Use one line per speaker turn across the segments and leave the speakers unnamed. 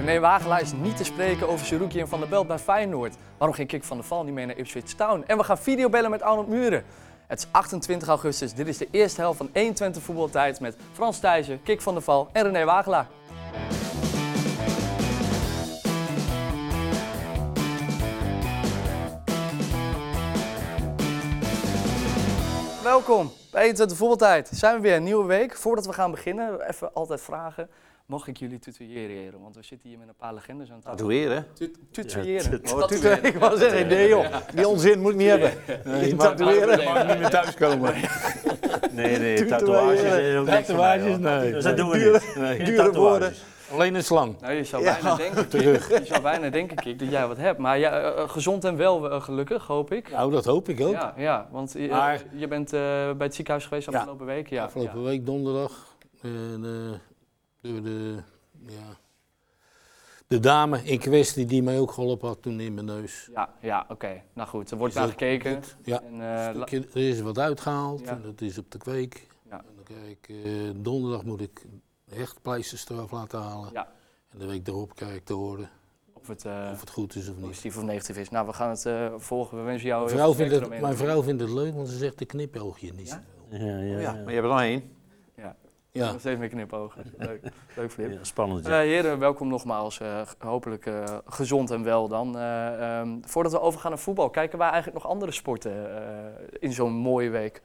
René Wagelaar is niet te spreken over Seruki en Van der Belt bij Feyenoord. Waarom ging Kik van der Val niet mee naar Ipswich Town? En we gaan videobellen met Arnold Muren. Het is 28 augustus. Dit is de eerste helft van 120 voetbaltijd met Frans Thijssen, Kik van der Val en René Wagelaar. Welkom bij 21 Voetbaltijd. Zijn we weer een nieuwe week. Voordat we gaan beginnen, even altijd vragen. Mag ik jullie tutoyeren, heren? Want we zitten hier met een paar legendes aan tafel.
Tatoeëren?
Tut- Tutoyeren.
Oh,
Dat-
tatoeëren. Ik wou zeggen, nee joh, die onzin moet ik niet hebben. Nee, tatoeëren mag niet meer thuiskomen.
Nee, nee,
Tatoeëren.
tatoeages is ook niks voor mij,
Tatoeages,
joh.
nee.
Dus dat doen we
Dure-
niet. Nee, geen
dure
tatoeages.
woorden.
Alleen een slang.
Nou, je zou bijna denken, Kik, je zou bijna denken, Kik, dat jij wat hebt. Maar ja, eh, eh, gezond en wel eh, gelukkig, hoop ik.
Nou, dat hoop ik ook.
Ja, ja want je,
Maar-
je bent eh, bij het ziekenhuis geweest
Ja.
afgelopen week. Ja,
Afgelopen week donderdag. En, eh, door de, ja, de dame in kwestie die mij ook geholpen had toen in mijn neus.
ja. ja, ja oké. Nou goed, er wordt
Is
naar
ook
gekeken.
goed. Ja.
En, eh, la-
Stukje- er is wat uitgehaald
Ja.
en dat is op de kweek.
Ja.
En dan krijg ik, eh, donderdag moet ik hechtpleisters eraf laten halen.
Ja.
En de week daarop krijg ik te horen
of het eh,
of het goed is of niet.
positief of negatief is. Nou, we gaan het eh, volgen. We wensen jou
Mijn
heel
vrouw,
veel
vindt
sterkte
het,
ermee.
mijn vrouw vindt het leuk, want ze zegt de knipoogje niet.
Ja?
zoveel.
Ja, ja,
Oh Ja,
ja.
maar je hebt er nog één.
Ja.
Nog steeds meer knipogen. Leuk, leuk Flip.
Ja, spannend.
Eh
Ja.
heren, welkom nogmaals. Eh, g- hopelijk eh, gezond en wel dan. Eh, ehm, voordat we overgaan naar voetbal, kijken wij eigenlijk nog andere sporten eh, in zo'n mooie week?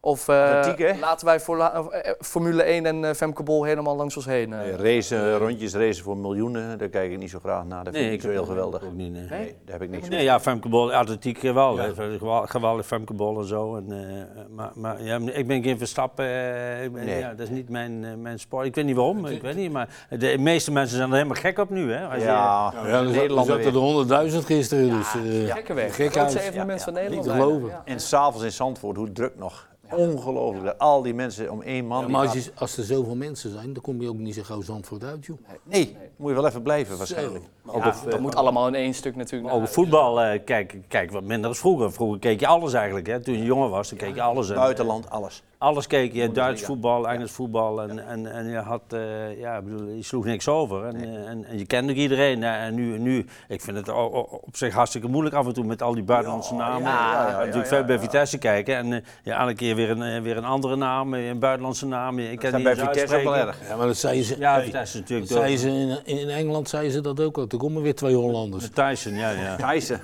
Of eh,
Atletiek, hè?
laten wij voor la- of, eh, Formule 1 en eh, Femke Bol helemaal langs ons heen? eh?
Nee, racen, rondjes racen voor miljoenen, daar kijk ik niet zo graag naar. Dat vind ik niet zo heel geweldig.
Ook niet, nee.
Nee?
Nee, daar heb ik niks
Nee, ja, Femke Bol, atletiek eh, wel. hè. Gewel- Geweldig Femke Bol en zo. En, eh, maar maar ja, ik ben geen Verstappen. eh, ik ben-
Nee.
ja, dat is niet mijn, eh, mijn sport. Ik weet niet waarom, ik weet niet. Maar de meeste mensen zijn er helemaal gek op nu. Hè? Als je-
Ja,
Ja, er zat- er
Nederlander
zaten er
weer.
honderdduizend gisteren, dus eh,
Gekke weg.
Gekhuis.
Grootste evenement
Ja, ja.
van Nederland.
Niet te
bijna,
geloven.
ja.
En s'avonds in Zandvoort, hoe druk nog. Ongelooflijk, dat al die mensen om één man.
Ja,
die
maar als,
gaat-
je- als er zoveel mensen zijn, dan kom je ook niet zo gauw Zandvoort uit, joh.
Nee, moet je wel even blijven waarschijnlijk.
Ja, dat moet allemaal in één stuk natuurlijk.
Ook
naar
voetbal eh, kijk, kijk wat minder als vroeger. Vroeger keek je alles eigenlijk. Hè? Toen je jonger was, dan keek je alles. En,
Buitenland, alles.
Alles keek je, Duits voetbal, Engels voetbal en, en, en je, had, eh, ja, ik bedoel, je sloeg niks over. En, eh, en, en je kende ook iedereen. hè. En nu, nu, ik vind het o- o- op zich hartstikke moeilijk af en toe met al die buitenlandse namen.
ja, ja,
ik heb
ja,
natuurlijk
ja,
veel bij Vitesse kijken en eh, ja, elke keer weer een, eh, weer een andere naam, eh, een buitenlandse naam. Ik
Dat
ken
zijn
die
bij
eens
Vitesse ook wel
uitspreken.
erg.
Ja, maar dat zei ze,
Ja,
hey,
Vitesse natuurlijk.
dat
door-
zei ze in, in Engeland zei ze dat ook al. Er komen weer twee Hollanders.
Tyson, ja, ja.
Thijssen.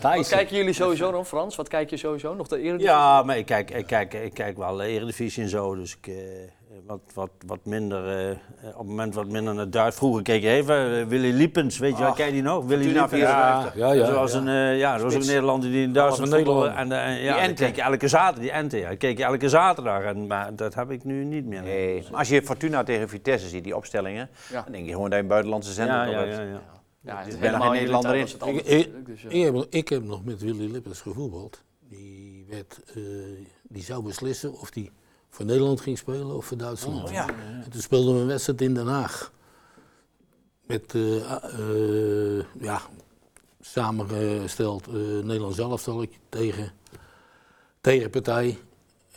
Wat kijken jullie sowieso dan, Frans? Wat kijk je sowieso? Nog de Eredivisie?
Ja, maar ik kijk, ik kijk, ik kijk wel de Eredivisie en zo, dus ik, eh, wat, wat, wat minder, eh, eh, op het moment wat minder naar Duits. Vroeger keek je even, eh, Willy Liepens, weet je wel, ken je die nog? Willy
Fortuna
Liepens.
Ja, ja,
dat
ja.
was een, eh, ja, dat was een
Spits.
Nederlander die in Duitsland
Dat was een
voetbalde. En,
Nederlander.
eh, ja,
Die
die
Ente.
keek je elke zaterdag, die Ente, ja, die keek je elke zaterdag. En, maar dat heb ik nu niet meer.
Nee, maar als je Fortuna tegen Vitesse ziet, die opstellingen,
Ja.
dan denk je gewoon dat je een buitenlandse zender
Ja,
kan
ja,
hebben.
ja, ja.
Ja, het is
bijna
helemaal
geen
in jullie tijd
Nederlander in.
was het anders
Ik- ik-
natuurlijk, dus, ja.
Ik heb, ik heb nog met Willy Lippens gevoetbald. Die, werd, eh, die zou beslissen of die voor Nederland ging spelen of voor Duitsland.
Oh, ja.
En toen speelden we een wedstrijd in Den Haag. Met, eh, ah, eh, ja, samengesteld eh Nederlands elftal tegen tegenpartij.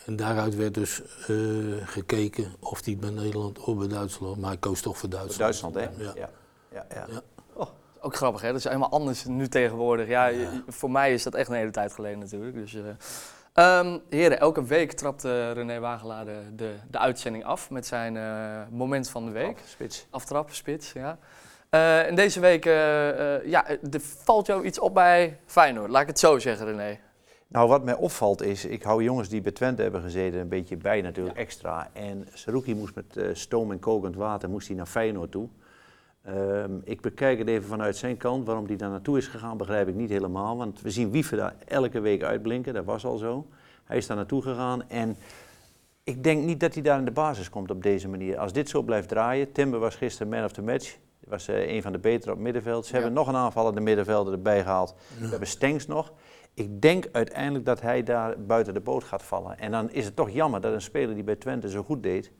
En daaruit werd dus eh, gekeken of die bij Nederland of bij Duitsland. Maar hij koos toch voor Duitsland.
Duitsland, hè?
Ja.
ja. ja, ja.
Ook grappig, hè? Dat is helemaal anders nu tegenwoordig. Ja, je- je- voor mij is dat echt een hele tijd geleden natuurlijk. Dus, eh, ehm, heren, elke week trapt eh, René Wagelaar de, de, de uitzending af met zijn eh, moment van de week.
Spits.
Aftrap, spits, ja. Eh, en deze week, eh, eh, ja, er valt jou iets op bij Feyenoord. Laat ik het zo zeggen, René.
Nou, wat mij opvalt is, ik hou jongens die bij Twente hebben gezeten een beetje bij natuurlijk extra. En Saruki moest met eh, stoom en kokend water moest hij naar Feyenoord toe. Ehm, ik bekijk het even vanuit zijn kant. Waarom hij daar naartoe is gegaan, begrijp ik niet helemaal. Want we zien Wiever daar elke week uitblinken. Dat was al zo. Hij is daar naartoe gegaan. En ik denk niet dat hij daar in de basis komt op deze manier. Als dit zo blijft draaien. Timber was gisteren man of the match. Was eh, een van de betere op middenveld. Ze
Ja.
hebben nog een aanvallende middenvelder erbij gehaald. We hebben Stenks nog. Ik denk uiteindelijk dat hij daar buiten de boot gaat vallen. En dan is het toch jammer dat een speler die bij Twente zo goed deed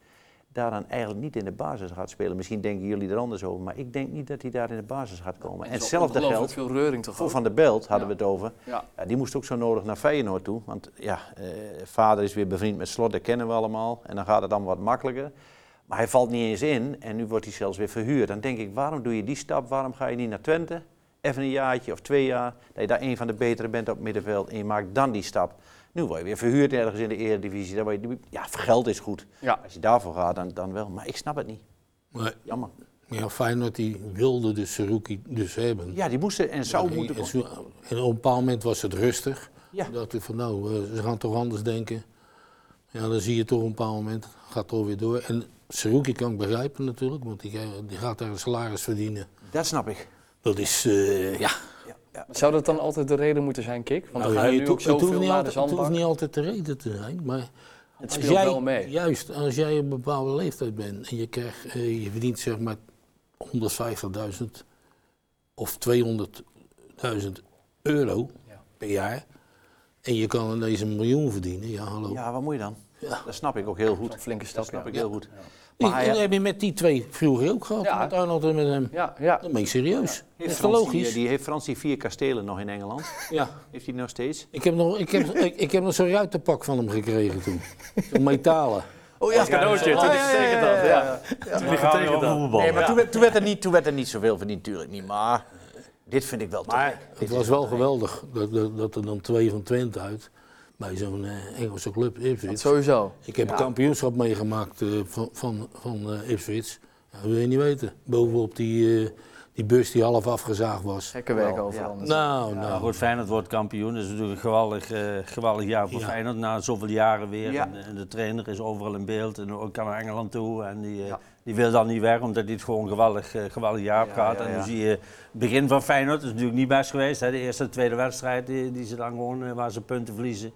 daar dan eigenlijk niet in de basis gaat spelen. Misschien denken jullie er anders over, maar ik denk niet dat hij daar in de basis gaat komen. En
Het is wel
hetzelfde
ongelooflijk
geldt
veel reuring toch
voor
ook?
Van der Belt, hadden
Ja.
we het over.
Ja.
Ja, die moest ook zo nodig naar Feyenoord toe, want ja, eh, vader is weer bevriend met Slot, dat kennen we allemaal. En dan gaat het dan wat makkelijker. Maar hij valt niet eens in en nu wordt hij zelfs weer verhuurd. Dan denk ik, waarom doe je die stap? Waarom ga je niet naar Twente? Even een jaartje of twee jaar, dat je daar een van de betere bent op het middenveld en je maakt dan die stap. Nu word je weer verhuurd ergens in de Eredivisie. Dan word je, ja, voor geld is goed.
Ja.
Als je daarvoor gaat, dan, dan wel. Maar ik snap het niet.
Maar
Jammer.
ja, Feyenoord die wilde de Seruki dus hebben.
Ja, die moesten en zou
en,
moeten...
en, zo- en op een bepaald moment was het rustig.
Ja.
Toen dacht ik van nou, eh, ze gaan toch anders denken. Ja, dan zie je toch op een bepaald moment, gaat toch weer door. En Seruki kan ik begrijpen natuurlijk, want die, ga- die gaat daar een salaris verdienen.
Dat snap ik.
Dat is, eh, ja,
Zou dat dan altijd de reden moeten zijn, Kik? Want
Nou
dan
ja,
gaan er
het
nu
ho-
ook zoveel
het hoeft niet
naar de
altijd, het hoeft
zandbak.
niet altijd de reden te zijn, maar...
Het
als
speelt
jij-
wel mee.
Juist, als jij een bepaalde leeftijd bent en je, krijgt, eh, je verdient zeg maar 150.000 of 200.000 euro
Ja.
per jaar... en je kan ineens een miljoen verdienen, ja hallo.
Ja, wat moet je dan? Dat snap ik ook heel goed.
Een flinke
Dat
stap, ja.
snap ik heel goed.
Die-
Maar
en
hij
heb je met die twee vroeger ook gehad,
Ja.
met Arnold en met hem.
Ja, ja.
Dat ben ik serieus. Dat
heeft
is toch
Frans die,
logisch?
eh, die heeft Frans die vier kastelen nog in Engeland.
Ja.
Heeft hij die nog steeds?
Ik heb nog, ik heb, ik, ik heb nog zo'n ruitenpak van hem gekregen toen. Zo'n metalen.
Oh
Als cadeautje, toen ik getekend had. Ja.
We gaan weer over voetbal.
Nee, maar toen, werd, toen, werd er niet, toen werd er niet zoveel verdiend, natuurlijk niet. Maar dit vind ik wel te gek.
Het was wel geweldig dat, dat, dat er dan twee van Twente uit bij zo'n eh, Engelse club
Dat
Ipswich.
Sowieso.
Ik heb een kampioenschap meegemaakt eh, van, van, van eh, Ipswich. Ja, dat wil je niet weten. Bovenop die, eh, die bus die half afgezaagd was.
Gekke werk
Wel,
overal.
ja.
natuurlijk.
Nou,
Nou,
nou.
goed, Feyenoord wordt kampioen. Dat is natuurlijk een geweldig, eh, geweldig jaar voor
Ja.
Feyenoord. Na zoveel jaren weer.
Ja.
En, en de trainer is overal in beeld. En ook kan naar Engeland toe. En die, eh,
Ja.
die wil dan niet weg, omdat hij het gewoon geweldig, eh, geweldig jaar op
Ja,
gaat.
ja,
En
ja.
dan zie je het begin van Feyenoord. Dat is natuurlijk niet best geweest. Hè. De eerste en tweede wedstrijd die, die ze dan gewoon, eh, waar ze punten verliezen.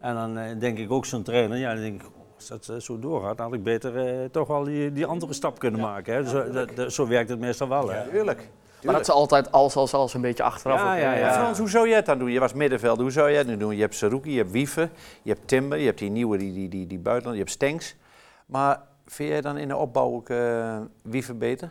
En dan eh, denk ik ook zo'n trainer. Ja, dan denk ik, als dat eh, zo doorgaat, had ik beter eh, toch wel die, die andere stap kunnen maken. Hè. Zo, dat- dat- zo werkt het meestal wel. Hè.
Tuurlijk.
Maar dat is altijd als, als, als een beetje achteraf.
Ja,
ook,
ja,
eh,
ja.
Maar Frans, hoe zou jij het dan doen? Je was middenveld, hoe zou jij het nu doen? Je hebt Saruki, je hebt Wieven, je hebt Timber, je hebt die nieuwe, die, die, die, die buitenland, je hebt Stenks. Maar vind jij dan in de opbouw ook eh Wieven beter?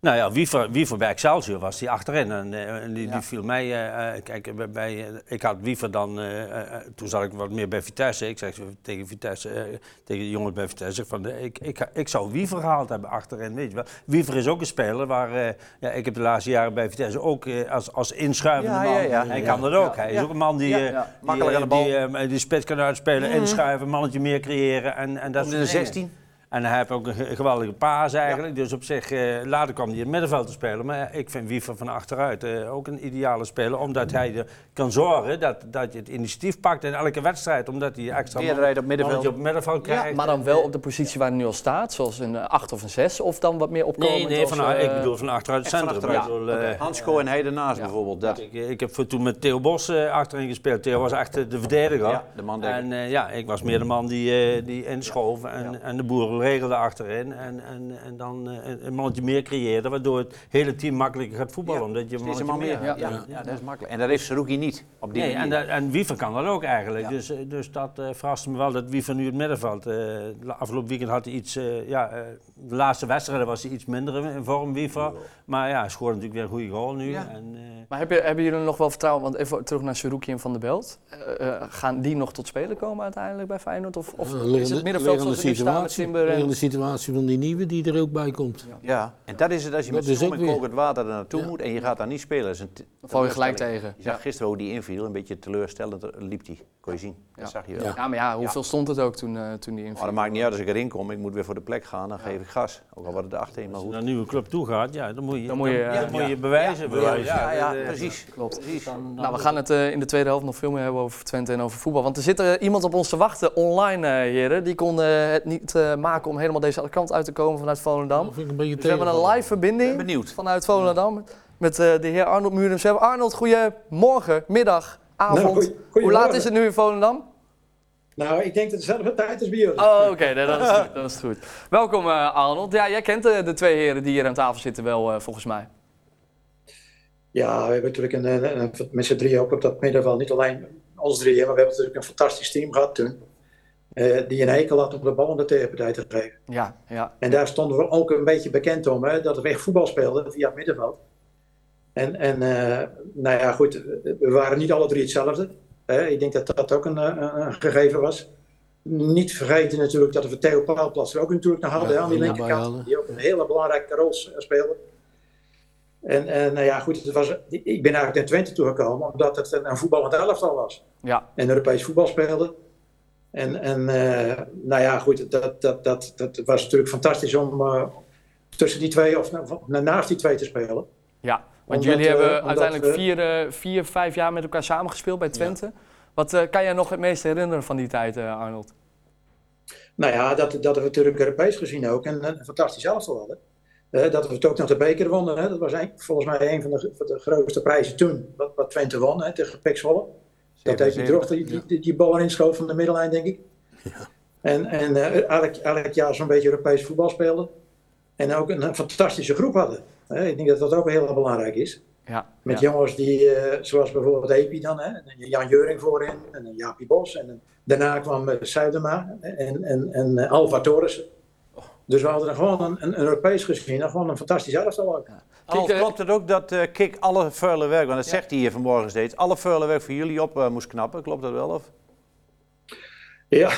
Nou ja, Wiever, Wiever bij Excelsior was die achterin. En, eh, en die,
Ja.
die viel mij. eh, eh, kijk, bij, bij, eh, ik had Wiever dan. eh, eh, eh, toen zat ik wat meer bij Vitesse. Ik zeg tegen Vitesse, eh, tegen de jongens bij Vitesse, ik van, eh, ik, ik, ik zou Wiever gehaald hebben achterin. Weet je wel. Wiever is ook een speler waar. eh, ja, ik heb de laatste jaren bij Vitesse ook eh, als, als inschuivende
Ja,
man.
ja, ja.
Hij
Ja.
kan dat ook. Hij is
Ja.
ook een man die.
Ja, ja.
eh, die,
Makkelijk aan de
eh,
bal.
Die, eh, die spits kan uitspelen, inschuiven, mannetje meer creëren. En, en dat
Tot
soort
in de
dingen.
16?
En hij heeft ook een ge- geweldige paas eigenlijk. Dus op zich, eh, later kwam hij in het middenveld te spelen. Maar ik vind Wiever van achteruit eh, ook een ideale speler. Omdat hij er kan zorgen dat, dat je het initiatief pakt in elke wedstrijd. Omdat hij extra
Meerderheid op middenveld.
mannetje op middenveld krijgt.
Maar dan wel op de positie waar hij nu al staat, zoals een 8 of een 6, of dan wat meer opkomend.
Nee, nee
als,
van,
eh,
ik bedoel van achteruit het
Echt van
centrum.
achteruit.
Ik bedoel, eh,
Hansko en hij daarnaast bijvoorbeeld. Dat.
Ik, eh, ik heb voor- toen met Theo Bos eh, achterin gespeeld. Theo was echt eh, de verdediger.
Ja, de man-dekker.
En eh, ja, ik was meer de man die, eh, die inschoof en, en de boeren regelden achterin. En, en, en dan eh, een- een mannetje meer creëerde, waardoor het hele team makkelijker gaat voetballen.
Ja,
Omdat je een
Steeds een
mannetje
man
meer
meer.
hebt.
Ja, ja, dat is makkelijk. En dat heeft Saruki niet op die
Nee, en,
manier.
dat- en Wiever kan dat ook eigenlijk. Dus, eh, dus dat eh verraste me wel dat Wiever nu het middenveld. eh, la- afgelopen weekend had hij iets. eh, ja, eh, de laatste wedstrijden was hij iets minder in vorm, Wiever. Maar ja, hij scoorde natuurlijk weer een goede goal nu.
Ja.
En, eh,
Maar hebben, hebben jullie nog wel vertrouwen, want even terug naar Suruki en Van der Belt. Eh, eh, gaan die nog tot spelen komen uiteindelijk bij Feyenoord? Of, of
Een
is
liggende-
het middenveld
liggende
zoals we nu staan met
situatie,
Timber en...
liggende situatie van die nieuwe die er ook bij komt.
Ja, en dat is het als je
Dat
met
is
zo'n
ook weer-
kokend water er naartoe
Ja.
moet en je gaat daar niet spelen. Dat is een t-
Dan val je gelijk tegen.
teleurstelling. Je zag gisteren hoe die inviel, een beetje teleurstellend eh, liep die. Kon je zien,
Ja.
dat zag je wel.
Ja.
Ja, maar ja, hoeveel stond het ook toen, eh, toen die
Oh,
Maar
inviel?
dat maakt niet uit als ik erin kom, ik moet weer voor de plek gaan, dan geef ik gas. Ook al wordt het erachter maar
Als je
goed.
naar een nieuwe club toe gaat, ja, dan moet je,
Dan moet je, eh,
dus dan moet je bewijzen. bewijzen.
Ja, ja,
dat, eh,
precies.
Klopt.
precies.
Nou, we gaan het eh, in de tweede helft nog veel meer hebben over Twente en over voetbal. Want er zit eh, iemand op ons te wachten online, eh, heren. Die kon eh, het niet eh, maken om helemaal deze kant uit te komen vanuit Volendam.
Dat vind ik een beetje
Dus we hebben een
tegenvallen.
live verbinding
ben benieuwd.
vanuit Volendam met eh, de heer Arnold Muren. Ze hebben Arnold, goedemorgen, middag, avond.
Nou, goeie-
Hoe
goeiemorgen.
laat is het nu in Volendam?
Nou, ik denk dat het dezelfde tijd is bij jullie.
Oh, oké, nee, dat, is goed, dat is goed. Welkom eh, Arnold. Ja, jij kent eh, de twee heren die hier aan tafel zitten wel, eh, volgens mij.
Ja, we hebben natuurlijk een, eh, een, een- met z'n drieën ook op dat middenveld. Niet alleen ons drieën, maar we hebben natuurlijk een fantastisch team gehad toen. eh, die een hekel had om de bal aan de tegenpartij te geven.
Ja, ja.
En daar stonden we ook een beetje bekend om, hè, dat we echt voetbal speelden via het middenveld. En, en eh, nou ja, goed, we waren niet alle drie hetzelfde. Hè. Ik denk dat dat ook een, eh, een gegeven was. niet vergeten natuurlijk dat we Theo Paalplas er ook natuurlijk naar hadden
Ja,
hè, aan die
naar
linkerkant.
Bayern.
Die ook een hele belangrijke rol s- eh, speelde. En, en nou ja, goed, het was, ik ben eigenlijk naar Twente toegekomen omdat het een, een voetballend elftal was
Ja,
en Europees voetbal speelde. En, en eh, nou ja, goed, dat, dat, dat, dat was natuurlijk fantastisch om eh, tussen die twee of na- na- naast die twee te spelen.
ja. want
Omdat,
jullie
eh,
hebben
omdat
uiteindelijk
we-
vier, eh, vier, vijf jaar met elkaar samengespeeld bij Twente. Wat eh, kan jij nog het meest herinneren van die tijd, eh, Arnold?
Nou ja, dat, dat we natuurlijk Europees gezien ook een, een fantastisch elftal hadden. Eh, dat we het ook nog de beker wonnen. Hè. Dat was een, volgens mij een van de, van de grootste prijzen toen, wat, wat Twente won hè, tegen Pek Zwolle. Dat heeft die
77.
drocht die, die, die, die bal erin schoof van de middellijn, denk ik. En, en eh elk, elk jaar zo'n beetje Europees voetbal speelden. En ook een, eh, fantastische groep hadden. Hè, ik denk dat dat ook heel belangrijk is.
Ja,
Met
ja.
jongens die, eh, zoals bijvoorbeeld Epi dan, hè, en Jan Jeuring voorin, en een Jaapie Bos. En, een- daarna kwam eh, Zuidema en, en, en eh, Alva Torres. Dus we hadden gewoon een, een Europees gezien, en gewoon een fantastisch elftal ook.
Al
Kijk, eh,
klopt het ook dat eh, Kik alle vuile werk, want dat zegt hij hier vanmorgen steeds, alle vuile werk voor jullie op eh, moest knappen. Klopt dat wel? Of?
Ja,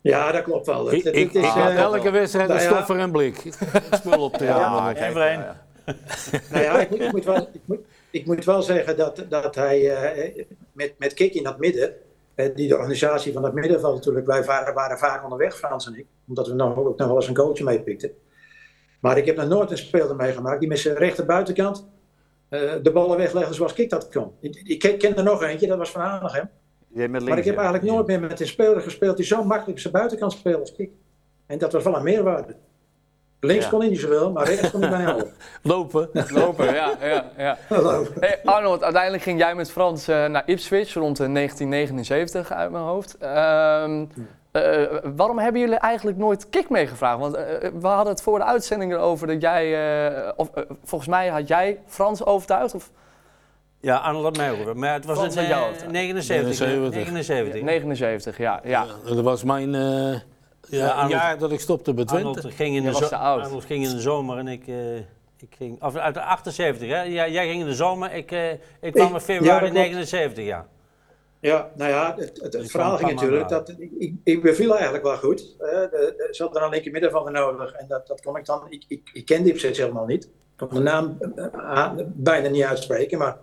ja, dat klopt wel. Het-
Ik,
het-
ik,
het
ik
is,
had
eh,
elke wedstrijd een
nou ja.
stoffer en blik. Ik Spul op de ramen.
kijk,
voor één.
nou ja.
Nou ja, ik moet, ik moet, wel, ik moet, ik moet wel zeggen dat, dat hij eh, met, met Kik in dat midden, eh, die de organisatie van dat middenveld natuurlijk, wij waren, waren vaak onderweg, Frans en ik, omdat we nog, ook nog wel eens een coach meepikten. Maar ik heb nog nooit een speler meegemaakt die met zijn rechter buitenkant eh, de ballen weglegde zoals Kik dat kon. Ik, ik ken- ken er nog eentje, dat was van Hanegem.
Die deed met links,
Maar ik heb
ja.
eigenlijk nooit meer met een speler gespeeld die zo makkelijk zijn buitenkant speelde als Kik. En dat was wel een meerwaarde. Links
Ja.
kon hij niet zoveel, maar rechts kon hij bijna wel.
Lopen.
lopen, ja, ja, ja. Hey Arnold, uiteindelijk ging jij met Frans eh, naar Ipswich rond de 1979 uit mijn hoofd. Ehm, eh, waarom hebben jullie eigenlijk nooit kick meegevraagd? Want eh, we hadden het voor de uitzending erover dat jij, eh, of, eh, volgens mij had jij Frans overtuigd of
Ja, Arnold had mij over. Maar het was
Frans
in
had
eh,
jou overtuigd.
79.
79.
79.
79, ja. ja.
Ja, dat was mijn eh, ja,
Arnold-
jaar dat ik stopte bij
Arnold
Twente.
ging, in
Jij was
de zo-
te oud.
Arnold ging in de zomer en ik, eh, ik ging... Of uit de 78, hè? Ja, jij ging in de zomer, ik, eh, ik kwam in
ja,
februari
dat klopt.
79, ja.
Ja, nou ja, het, het, het verhaal
kan
ging
Panama
natuurlijk dat ik- ik, ik beviel eigenlijk wel goed. Eh, de- de- ze hadden er een linkermidden van nodig en dat, dat kon ik dan. Ik, ik, ik kende Ipswich helemaal niet. Ik kon de naam eh, eh, bijna niet uitspreken, maar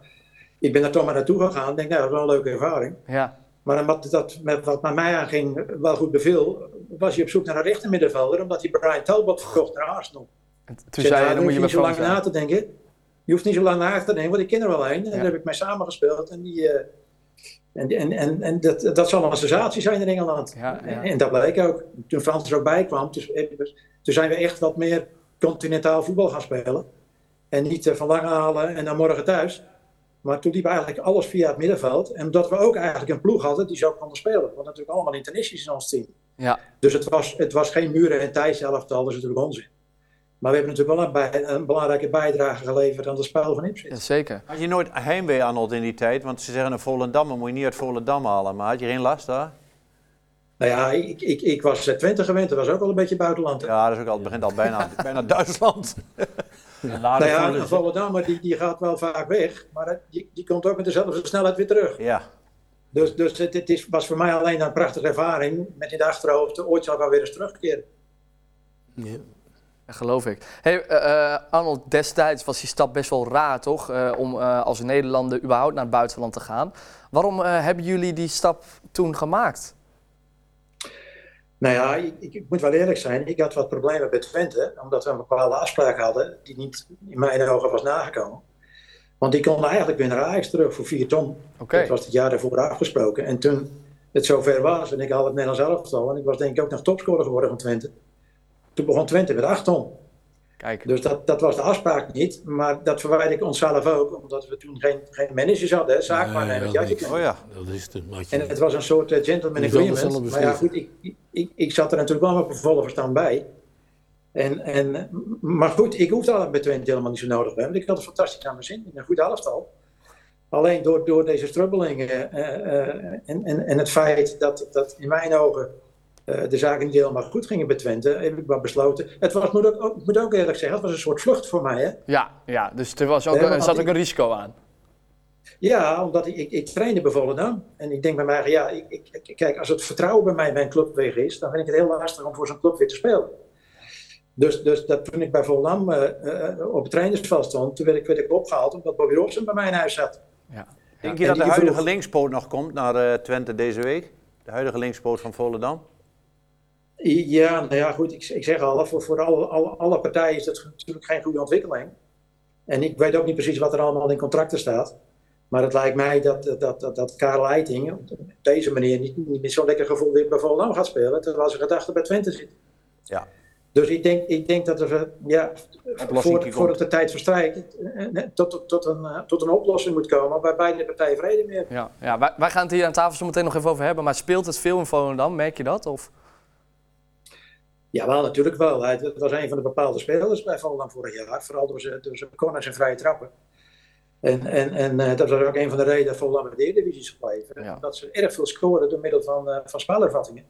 ik ben er toch maar naartoe gegaan. Ik denk, nou, dat is wel een leuke ervaring.
ja.
Maar wat, dat, met, wat met mij aanging wel goed beviel, was je op zoek naar een rechtermiddenvelder, omdat die Brian Talbot verkocht naar Arsenal.
En t-
Ik
Toen zei
nou,
je, dan moet je
hoef
met
niet zo
Frans
lang na
zijn.
te denken. Je hoeft niet zo lang na te denken, want ik ken er wel een. En
Ja.
daar heb ik mee samengespeeld. En, die, eh, en, en, en, en dat, dat zal wel een sensatie zijn in Engeland.
Ja, ja.
En, en dat bleek ook. Toen Frans er ook bij kwam, dus, toen zijn we echt wat meer continentaal voetbal gaan spelen. En niet eh, van lang halen en dan morgen thuis. Maar toen liep eigenlijk alles via het middenveld. En omdat we ook eigenlijk een ploeg hadden die zo konden spelen. We hadden natuurlijk allemaal internationals in ons team.
Ja,
Dus het was, het was geen muren en Thijs elftal, dat is natuurlijk onzin. Maar we hebben natuurlijk wel een, bij- een belangrijke bijdrage geleverd aan het spel van Ipswich.
zeker.
Had je nooit heimwee, Arnold, in die tijd? Want ze zeggen een Volendammer moet je niet uit Volendam halen. Maar had je geen last daar?
Nou ja, ik, ik, ik was eh, Twente gewend, dat was ook wel een beetje buitenland. hè.
Ja, dat is ook al, het begint al bijna, bijna Duitsland.
nou ja, een
dus
Volendammer die, die gaat wel vaak weg, maar eh, die, die komt ook met dezelfde snelheid weer terug.
Ja,
Dus, dus het, het is, was voor mij alleen een prachtige ervaring, met in de achterhoofd, ooit zal ik wel weer eens terugkeren.
Ja.
Dat geloof ik. Hey, eh, eh, Arnold, destijds was die stap best wel raar, toch? Eh, om eh, als Nederlander überhaupt naar het buitenland te gaan. Waarom eh, hebben jullie die stap toen gemaakt?
Nou ja, ik, ik, ik moet wel eerlijk zijn. Ik had wat problemen bij Twente, omdat we een bepaalde afspraak hadden die niet in mijn ogen was nagekomen. Want die konden eigenlijk weer naar Ajax terug voor vier ton.
Oké.
Dat was het jaar daarvoor afgesproken. En toen het zover was en ik had het Nederlands elftal en ik was denk ik ook nog topscorer geworden van Twente. Toen begon Twente met acht ton.
Kijk.
Dus dat, dat was de afspraak niet, maar dat verwijder ik onszelf ook, omdat we toen geen, geen managers hadden, hè, zaakwaarnemers.
Nee,
Ja,
Eh, dat
je
niet.
oh ja.
Dat is het. wat je-
en het was een soort eh, gentleman
Je zal het
agreement.
zelf
Maar ja,
beslissen.
goed, ik, ik- ik, ik zat er natuurlijk wel met mijn volle verstand bij. En, en, maar goed, ik hoefde al bij Twente helemaal niet zo nodig bij. Want ik had het fantastisch aan mijn zin. Een goed elftal. Alleen door, door deze strubbelingen eh, eh, en, en, en het feit dat, dat in mijn ogen eh, de zaken niet helemaal goed gingen bij Twente, heb ik maar besloten. Het was, moet ook, ook- moet ook eerlijk zeggen, het was een soort vlucht voor mij. Hè?
Ja, ja dus er was ook,
Nee, maar
er zat
wat
ook een risico aan.
Ja, omdat ik, ik, ik trainde bij Volendam. En ik denk bij mij, ja, ik, ik- ik- kijk, als het vertrouwen bij mij bij een club weg is, dan vind ik het heel lastig om voor zo'n club weer te spelen. Dus, dus dat, toen ik bij Volendam eh, eh, op het trainersveld stond, toen werd ik, werd ik opgehaald omdat Bobby Robson bij mij in huis zat.
Ja.
Denk
en
je dat de
die
huidige
vroeg-
linkspoot nog komt naar eh, Twente deze week? De huidige linkspoot van Volendam?
Ja, nou ja, goed, ik, ik zeg al, voor, voor alle, alle, alle partijen is dat natuurlijk geen goede ontwikkeling. En ik weet ook niet precies wat er allemaal in contracten staat. Maar het lijkt mij dat, dat, dat, dat Karel Eiting op deze manier niet, niet met zo'n lekker gevoel weer bij Volendam gaat spelen, terwijl zijn gedachten bij Twente zitten.
Ja.
Dus ik denk, ik denk dat er, eh, ja, voor,
komt.
voordat de tijd verstrijkt, eh, eh, tot, tot, tot, een, eh, tot een oplossing moet komen waar beide partijen vrede mee hebben.
Ja, ja wij, wij gaan het hier aan tafel zo meteen nog even over hebben. Maar speelt het veel in Volendam? Merk je dat? Of?
Ja, wel, natuurlijk wel. Hij dat was een van de bepaalde spelers bij Volendam vorig jaar. Vooral door zijn, door zijn corners en vrije trappen. En, en, en eh, dat was ook een van de redenen dat Volendam in de Eredivisie is gebleven.
Ja.
Dat ze erg veel scoren door middel van, eh van spelervattingen.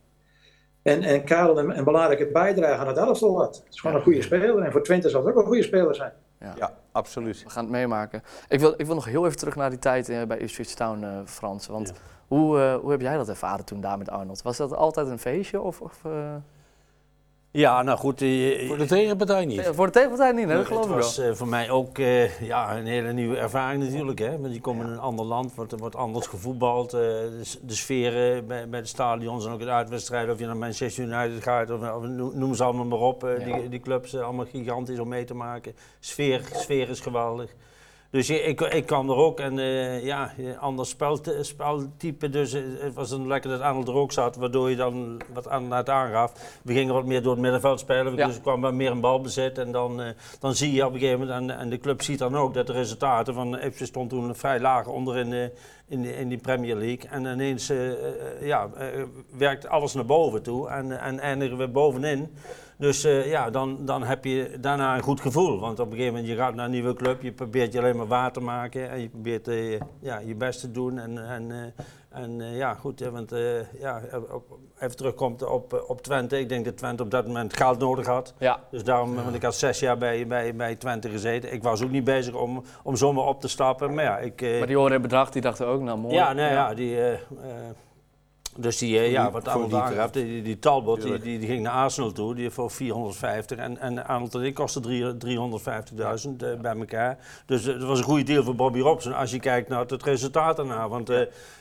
En, en Karel een, een belangrijke bijdrage aan het elftal had. Het is gewoon een goede speler. En voor Twente zal het ook een goede speler zijn.
Ja, absoluut.
We gaan het meemaken. Ik wil, ik wil nog heel even terug naar die tijd eh, bij Ipswich Town, eh, Frans. Want
Ja.
hoe, eh, hoe heb jij dat ervaren toen daar met Arnold? Was dat altijd een feestje? Of, of, eh,
Ja, nou goed. eh,
Voor de tegenpartij niet.
Voor de tegenpartij niet, hè? dat geloof ik
het
wel.
was eh, voor mij ook eh, ja, een hele nieuwe ervaring natuurlijk. Hè? Want je komt in een ander land, wordt, er wordt anders gevoetbald. eh, de, s- de sfeer eh, bij, bij de stadions en ook in de uitwedstrijden. Of je naar Manchester United gaat, of, of noem- noem ze allemaal maar op. eh,
Ja.
die, die clubs, eh, allemaal gigantisch om mee te maken. Sfeer, sfeer is geweldig. Dus je- ik, ik kwam er ook en eh ja, je- ander spel, speltype. Dus eh, het was dan lekker dat Arnold er ook zat, waardoor je dan wat aan het aangaf. We gingen wat meer door het middenveld spelen,
Ja.
dus er kwam wat meer een balbezit. En dan, eh, dan zie je op een gegeven moment, en, en de club ziet dan ook dat de resultaten van Ipswich stond toen vrij laag onder in, de- in, de- in die Premier League. En ineens eh, eh, ja, eh, werkt alles naar boven toe en, en eindigen we bovenin. Dus eh, ja, dan, dan heb je daarna een goed gevoel. Want op een gegeven moment, je gaat naar een nieuwe club, je probeert je alleen maar waar te maken en je probeert eh, ja, je best te doen. En, en, eh, en eh, ja, goed, eh, want eh, ja, op- even terugkomt op, eh, op Twente. Ik denk dat Twente op dat moment geld nodig had.
Ja,
Dus daarom, want ik had zes jaar bij, bij, bij Twente gezeten. Ik was ook niet bezig om, om zomaar op te stappen. Maar ja, ik... eh,
maar die horen het bedrag, die dachten ook, nou mooi.
ja, nee, ja. die, eh, eh, dus die, eh, ja,
die-
wat
voor
Arnold
die
aangaf,
trap.
die, die, die Talbot, die,
Tuurlijk.
die, die ging naar Arsenal toe, die voor 450. En, en Arnold en ik kostte drie- 350.000 eh, bij elkaar. Dus eh, dat was een goede deal voor Bobby Robson, als je kijkt naar het, het resultaat daarna. Want eh,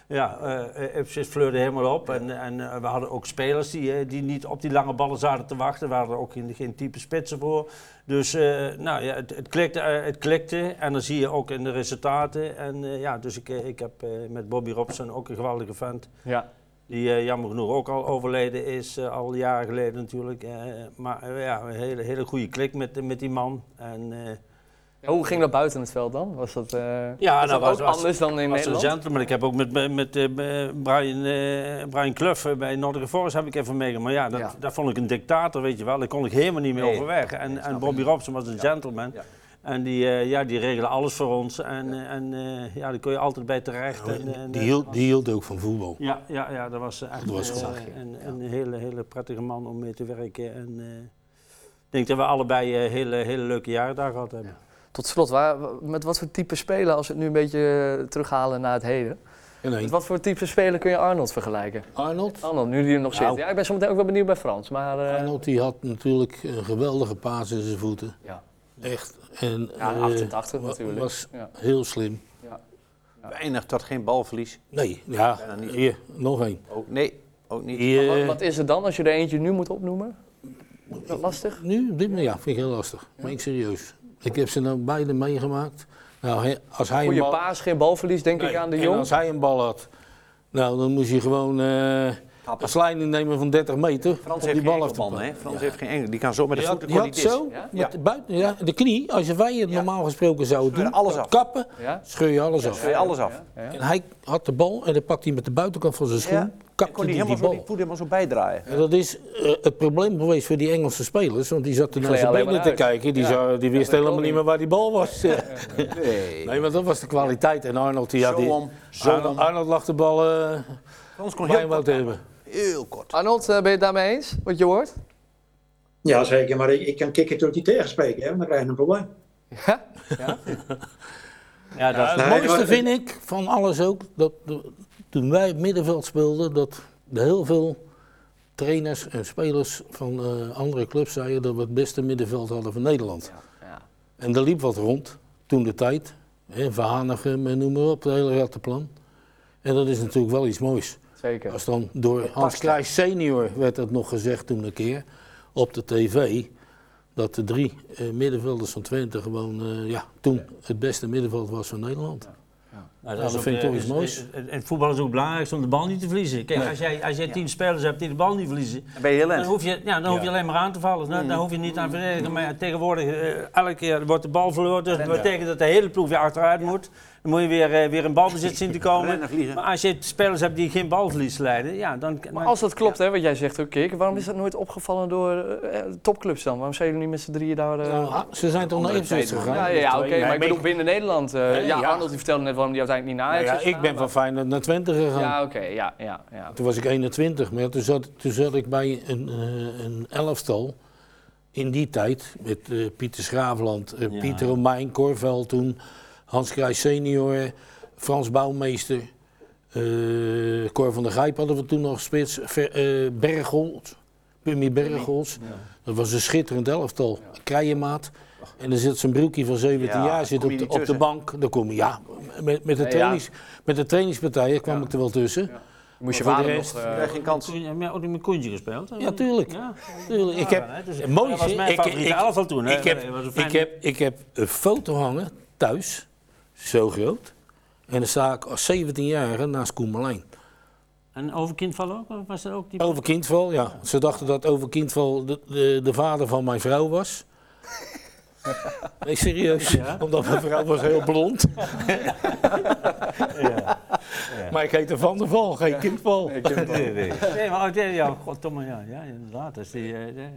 ja, eh Ipswich fleurde helemaal op. En, en eh, we hadden ook spelers die, eh, die niet op die lange ballen zaten te wachten. We hadden ook geen, geen type spitsen voor. Dus eh, nou, ja, het, het, klikte, eh, het klikte en dan zie je ook in de resultaten. En, eh, ja, dus ik, eh, ik heb eh, met Bobby Robson ook een geweldige vent.
Ja.
Die eh, jammer genoeg ook al overleden is, eh, al jaren geleden natuurlijk. eh, maar eh, ja, een hele, hele goede klik met, met die man. En, eh,
Ja, Hoe ging dat buiten het veld dan? Was dat, eh,
ja,
was dat
nou, was-
ook
was-
anders dan in
was een
Nederland?
gentleman. Ik heb ook met, met, met, eh, Brian, eh Brian Clough eh, bij Noordelijke Forest heb ik even meegemaakt. Maar ja, dat,
Ja.
daar vond ik een dictator, weet je wel. Daar kon ik helemaal niet meer
Nee.
overweg. En, en Bobby Robson was een gentleman.
Ja.
En die, eh, ja, die regelen alles voor ons. En, eh, en eh, ja, daar kon je altijd bij terecht. En, en,
Die
eh,
hield, die hield ook van voetbal.
ja, ja, ja, dat was echt
Dat was
eh,
gezag,
een, een hele, hele prettige man om mee te werken. En eh, ik denk dat we allebei eh, hele, hele leuke jaren daar gehad hebben.
Tot slot, waar, met wat voor type speler, als we het nu een beetje eh, terughalen naar het heden.
En
Met
één.
wat voor type speler kun je Arnold vergelijken?
Arnold.
Arnold, nu die er nog
Nou.
zit. Ja, ik ben zometeen ook wel benieuwd bij Frans, maar... eh,
Arnold die had natuurlijk een geweldige paas in zijn voeten.
Ja.
Echt. En,
Ja,
eh,
88
wa-
natuurlijk.
was
Ja.
heel slim.
Weinig tot geen balverlies.
Nee, ja,
Bijna niet.
hier, nog één.
Ook, nee, ook niet.
Hier,
eh,
Wat, wat is het dan als je er eentje nu moet opnoemen? Is dat lastig?
Nu, op dit moment, ja, vind ik heel lastig. Meen ik serieus. Ik heb ze nou beide meegemaakt. Nou, hè, als hij een
Goede
bal-
paas, geen balverlies, denk ik
Nee,
aan de
En als
jong.
hij een bal had, nou, dan moest je gewoon eh een sliding nemen van 30 meter.
Frans
om
heeft
die
geen
bal af te
enkel man,
pakken.
hè? Frans heeft geen enkel. Die kan zo met de
Die had,
voeten
die
kon
had
niet zo.
zo,
Ja?
met de buiten, ja, de knie, als wij het normaal gesproken zouden
Scheur je
doen,
alles af.
kappen,
Ja?
scheur je alles af.
Scheur je alles af.
Ja?
En hij had de bal en dan pakte hij met de buitenkant van zijn schoen,
Ja. Dan
kapte
kon
hij
hij
die,
helemaal zo die
bal.
voet helemaal zo bijdraaien.
En dat is eh, het probleem geweest voor die Engelse spelers, want die zaten
Die
naar
gleden
zijn
alleen
benen te
maar uit.
kijken. Die,
Ja.
zagen- die wist
dat
helemaal
kon
niet
hij.
meer waar die bal was.
Nee.
Nee, maar dat was de kwaliteit. En Arnold, die had
Zo
die,
om, zo
Arnold,
om.
Arnold lag de bal eh
Frans kon
bij hem
heel
ook
kort.
te hebben.
Heel kort.
Arnold, eh, ben je het daarmee eens, wat je hoort?
Ja, zeker. Maar ik, ik kan Kikker natuurlijk niet tegenspreken, hè, want dan krijg je een probleem.
Ja? ja?
Ja, dat is-
Het
Nee,
mooiste
maar-
vind ik van alles ook, dat de- toen wij het middenveld speelden, dat de heel veel trainers en spelers van eh, andere clubs zeiden dat we het beste middenveld hadden van Nederland.
Ja.
En er liep wat rond, toen de tijd. Hè, Verhanigem en noem maar op, het hele rattenplan. En dat is natuurlijk wel iets moois.
Zeker.
Als dan door Hans
past, hè?
Kruijs senior werd dat nog gezegd toen een keer op de tv. Dat de drie eh, middenvelders van Twente gewoon eh, ja, toen het beste middenveld was van Nederland.
Nou,
dat
is ook,
vind ik
eh,
toch iets
is-
moois.
is- En en voetbal is ook belangrijk om de bal niet te verliezen. Kijk, als jij, als jij tien spelers hebt die de bal niet verliezen,
ben je heel
dan
eind.
hoef je, ja, dan hoef je alleen maar aan te vallen. Nou, Dan, dan hoef je niet aan te verdedigen. Maar ja, tegenwoordig, eh, elke keer wordt de bal verloren. Dus dat betekent dat de hele ploeg weer achteruit moet. Dan moet je weer, eh, weer in balbezit zien te komen.
Rennen, vliegen.
Maar als je spelers hebt die geen balverlies leiden, ja, dan...
Maar
dan-
als dat klopt, hè, wat jij zegt ook, Kik, waarom is dat nooit opgevallen door eh, topclubs dan? Waarom zijn jullie niet met z'n drieën daar... eh,
Nou, ah, ze zijn toch naar Ipswich gegaan?
ja, ja, ja, oké, maar ik bedoel binnen Nederland. eh, ja, Arnold die vertelde net waarom die uiteindelijk niet naar
Nou
Ajax
ja,
is
ik ben
gegaan,
van Feyenoord naar Twente gegaan.
maar- Ja, oké, ja, ja, ja.
Toen was ik 21, maar toen zat, toen zat ik bij een, eh, een elftal in die tijd met eh, Pieter Schraafland, eh,
Ja.
Pieter Romein, Corvel toen, Hans Kruijs senior, Frans Bouwmeester, eh, Cor van der Gijp hadden we toen nog spits, Ver, eh, Bergholz, Pummy Bergholz. Dat was een schitterend elftal, Krijemaat. En dan zit zijn broekje van 17
Ja,
jaar zit
kom
op
je
de,
niet
op de
tussen.
bank. Dan kom je, ja, met, met, de,
Nee, ja.
trainings, met de trainingspartijen kwam ik er wel tussen.
Moest je
Maar voor
vader
de
nog...
rest-
eh,
Krijg geen kans.
Koen- heb je ook niet met Koentje gespeeld?
Ja, tuurlijk.
Ja.
Tuurlijk, ik
Ja,
heb,
hè, dus
het mooiste-
dat was mijn
ik-
favoriete
ik-
elftal toen, hè.
Ik heb,
Dat was een
ik,
fijne-
heb, ik heb een foto hangen thuis, zo groot. En dan sta ik als 17-jarige naast Koen Marlijn.
En Overkindval ook? Of was er ook die...
Over Kindval, ja. Ze dachten dat Over Kindval de, de, de vader van mijn vrouw was. Nee, serieus. Omdat mijn vrouw was heel blond. Maar ik heette Van der Val, geen Kindval.
Nee, maar oh, nee, ja, goddomme, ja, ja inderdaad. Als die, eh, de-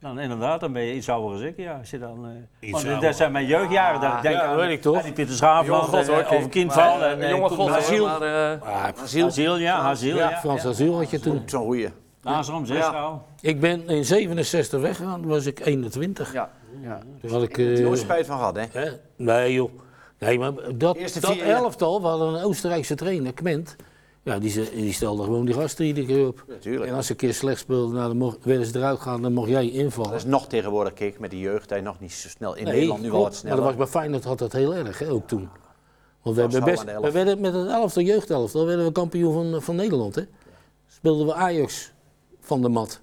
dan, inderdaad, dan ben je iets ouder als ik. Ja, als je dan, eh, want
ouder.
dat zijn mijn jeugdjaren. Dat ik denk
Ja,
aan,
weet ik toch.
aan die Pieter Schaafland,
Jonge god, hoor,
eh,
Kik.
over Kindval.
Maar,
en,
eh,
eh,
jonge
Koen
god,
Haziel.
hoor, maar, eh,
Asiel.
Haziel, ja, Haziel,
Ah, Ja,
ja. Nou,
Frans
ja.
Aziel had je toen.
Zo'n goeie.
Naastrom, zes al.
Ik ben in 67 weggegaan, toen was ik 21.
ja, ja.
Toen had ik... eh,
Nooit spijt van gehad, hè?
Hè? Nee joh. Nee, maar dat,
Eerste
dat
vier jaar.
elftal, we hadden een Oostenrijkse trainer, Kment. Ja, die, ze- die stelde gewoon die gasten iedere keer op.
Natuurlijk.
En als ze een keer slecht speelden, nou, dan mocht, werden ze eruit gaan, dan mocht jij
Dat is
invallen.
nog tegenwoordig, kijk, met de jeugd, hij nog niet zo snel. In
Nee,
Nederland nu wel
klopt.
wat
Maar
sneller.
dat was bij Feyenoord had dat heel erg, hè, ook toen. Want we,
was
hebben
wel
best,
aan de
we
elf.
werden met het elftal, jeugdelftal, werden we kampioen van, van Nederland. Hè. Speelden we Ajax van de mat.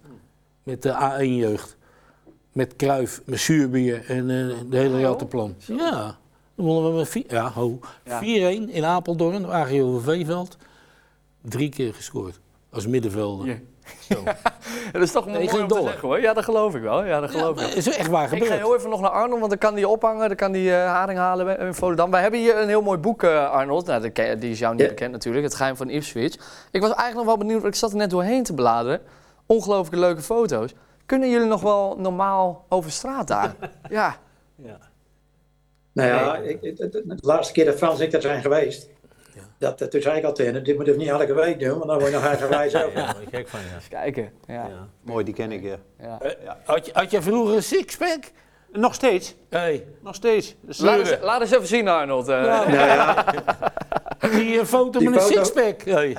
Met de A1-jeugd. Met Kruif, met Zuurbier en eh, de hele rattenplan. Ja, dan wonnen we met vi- ja, ho. 4-1 in Apeldoorn, AGO Veeveld. Drie keer gescoord. Als middenvelder.
Ja. Dat is toch
Nee,
mooi
geen
om te
dollar.
zeggen hoor. Ja, dat geloof ik wel. Ja, dat
Ja,
geloof
maar
ik.
het is echt waar
Ik ga
gebeurd.
heel even nog naar Arnold, want dan kan die ophangen, dan kan die eh, haring halen bij- in Volendam. Wij hebben hier een heel mooi boek, eh, Arnold. Nou, dat ken- die is jou niet
Ja.
bekend natuurlijk, Het Geheim van Ipswich. Ik was eigenlijk nog wel benieuwd, want ik zat er net doorheen te bladeren. Ongelooflijke leuke foto's. Kunnen jullie nog wel normaal over straat daar? ja.
Nou ja, ik, ik- de, de laatste keer dat Frans en ik daar zijn geweest, dat, dat, toen zei ik al tegen hem, dit moet ik niet elke week doen, want dan word je nog eigenwijs ook.
Ja, ben ik gek van, ja.
Eens kijken. Ja. Ja.
Mooi, die ken ik, ja.
Eh, Had, je- had jij vroeger een sixpack?
Nog steeds.
Hey.
Nog steeds. De
Laat, eens,
sleuren.
laat eens even zien, Arnold. eh.
Die eh, foto
Die
met een
foto.
sixpack. Hey.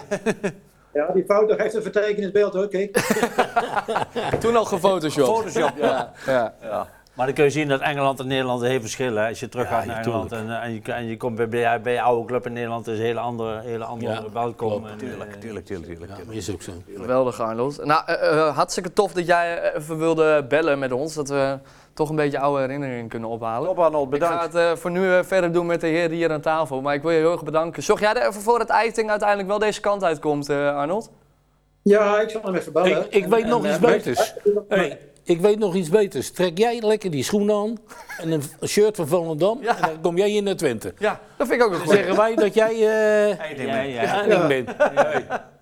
Ja, die foto geeft een vertekenend beeld hoor, kijk.
Toen al gefotoshopt. ja. ja.
Maar dan kun je zien dat Engeland en Nederland heel verschillen. hè. Als je teruggaat naar Engeland en, eh, en, je, en je komt bij, bij, bij je oude club in Nederland, is een hele andere, hele andere
Ja,
welkom.
klopt.
En, eh,
Tuurlijk, tuurlijk, tuurlijk. tuurlijk.
Ja, maar is ook zo.
Geweldig, Arnold. Nou, eh, eh, hartstikke tof dat jij eh, even wilde bellen met ons. Dat we toch een beetje oude herinneringen kunnen ophalen.
Top, Arnold,
Ik ga
bedankt.
het eh, voor nu eh, verder doen met de heren hier aan tafel. Maar ik wil je heel erg bedanken. Zorg jij er even voor dat Eiting uiteindelijk wel deze kant uitkomt, eh, Arnold?
Ja, ik zal hem even bellen.
Ik- ik weet nog iets
eh,
beters.
maar-
Hey, ik weet nog iets beters. Trek jij lekker die schoenen aan en een v- shirt van Volendam
Ja.
en dan kom jij in naar Twente.
Ja, dat vind ik ook een
Dan
goeie.
zeggen wij dat jij eh
ja, ja.
Haring
Ja.
bent.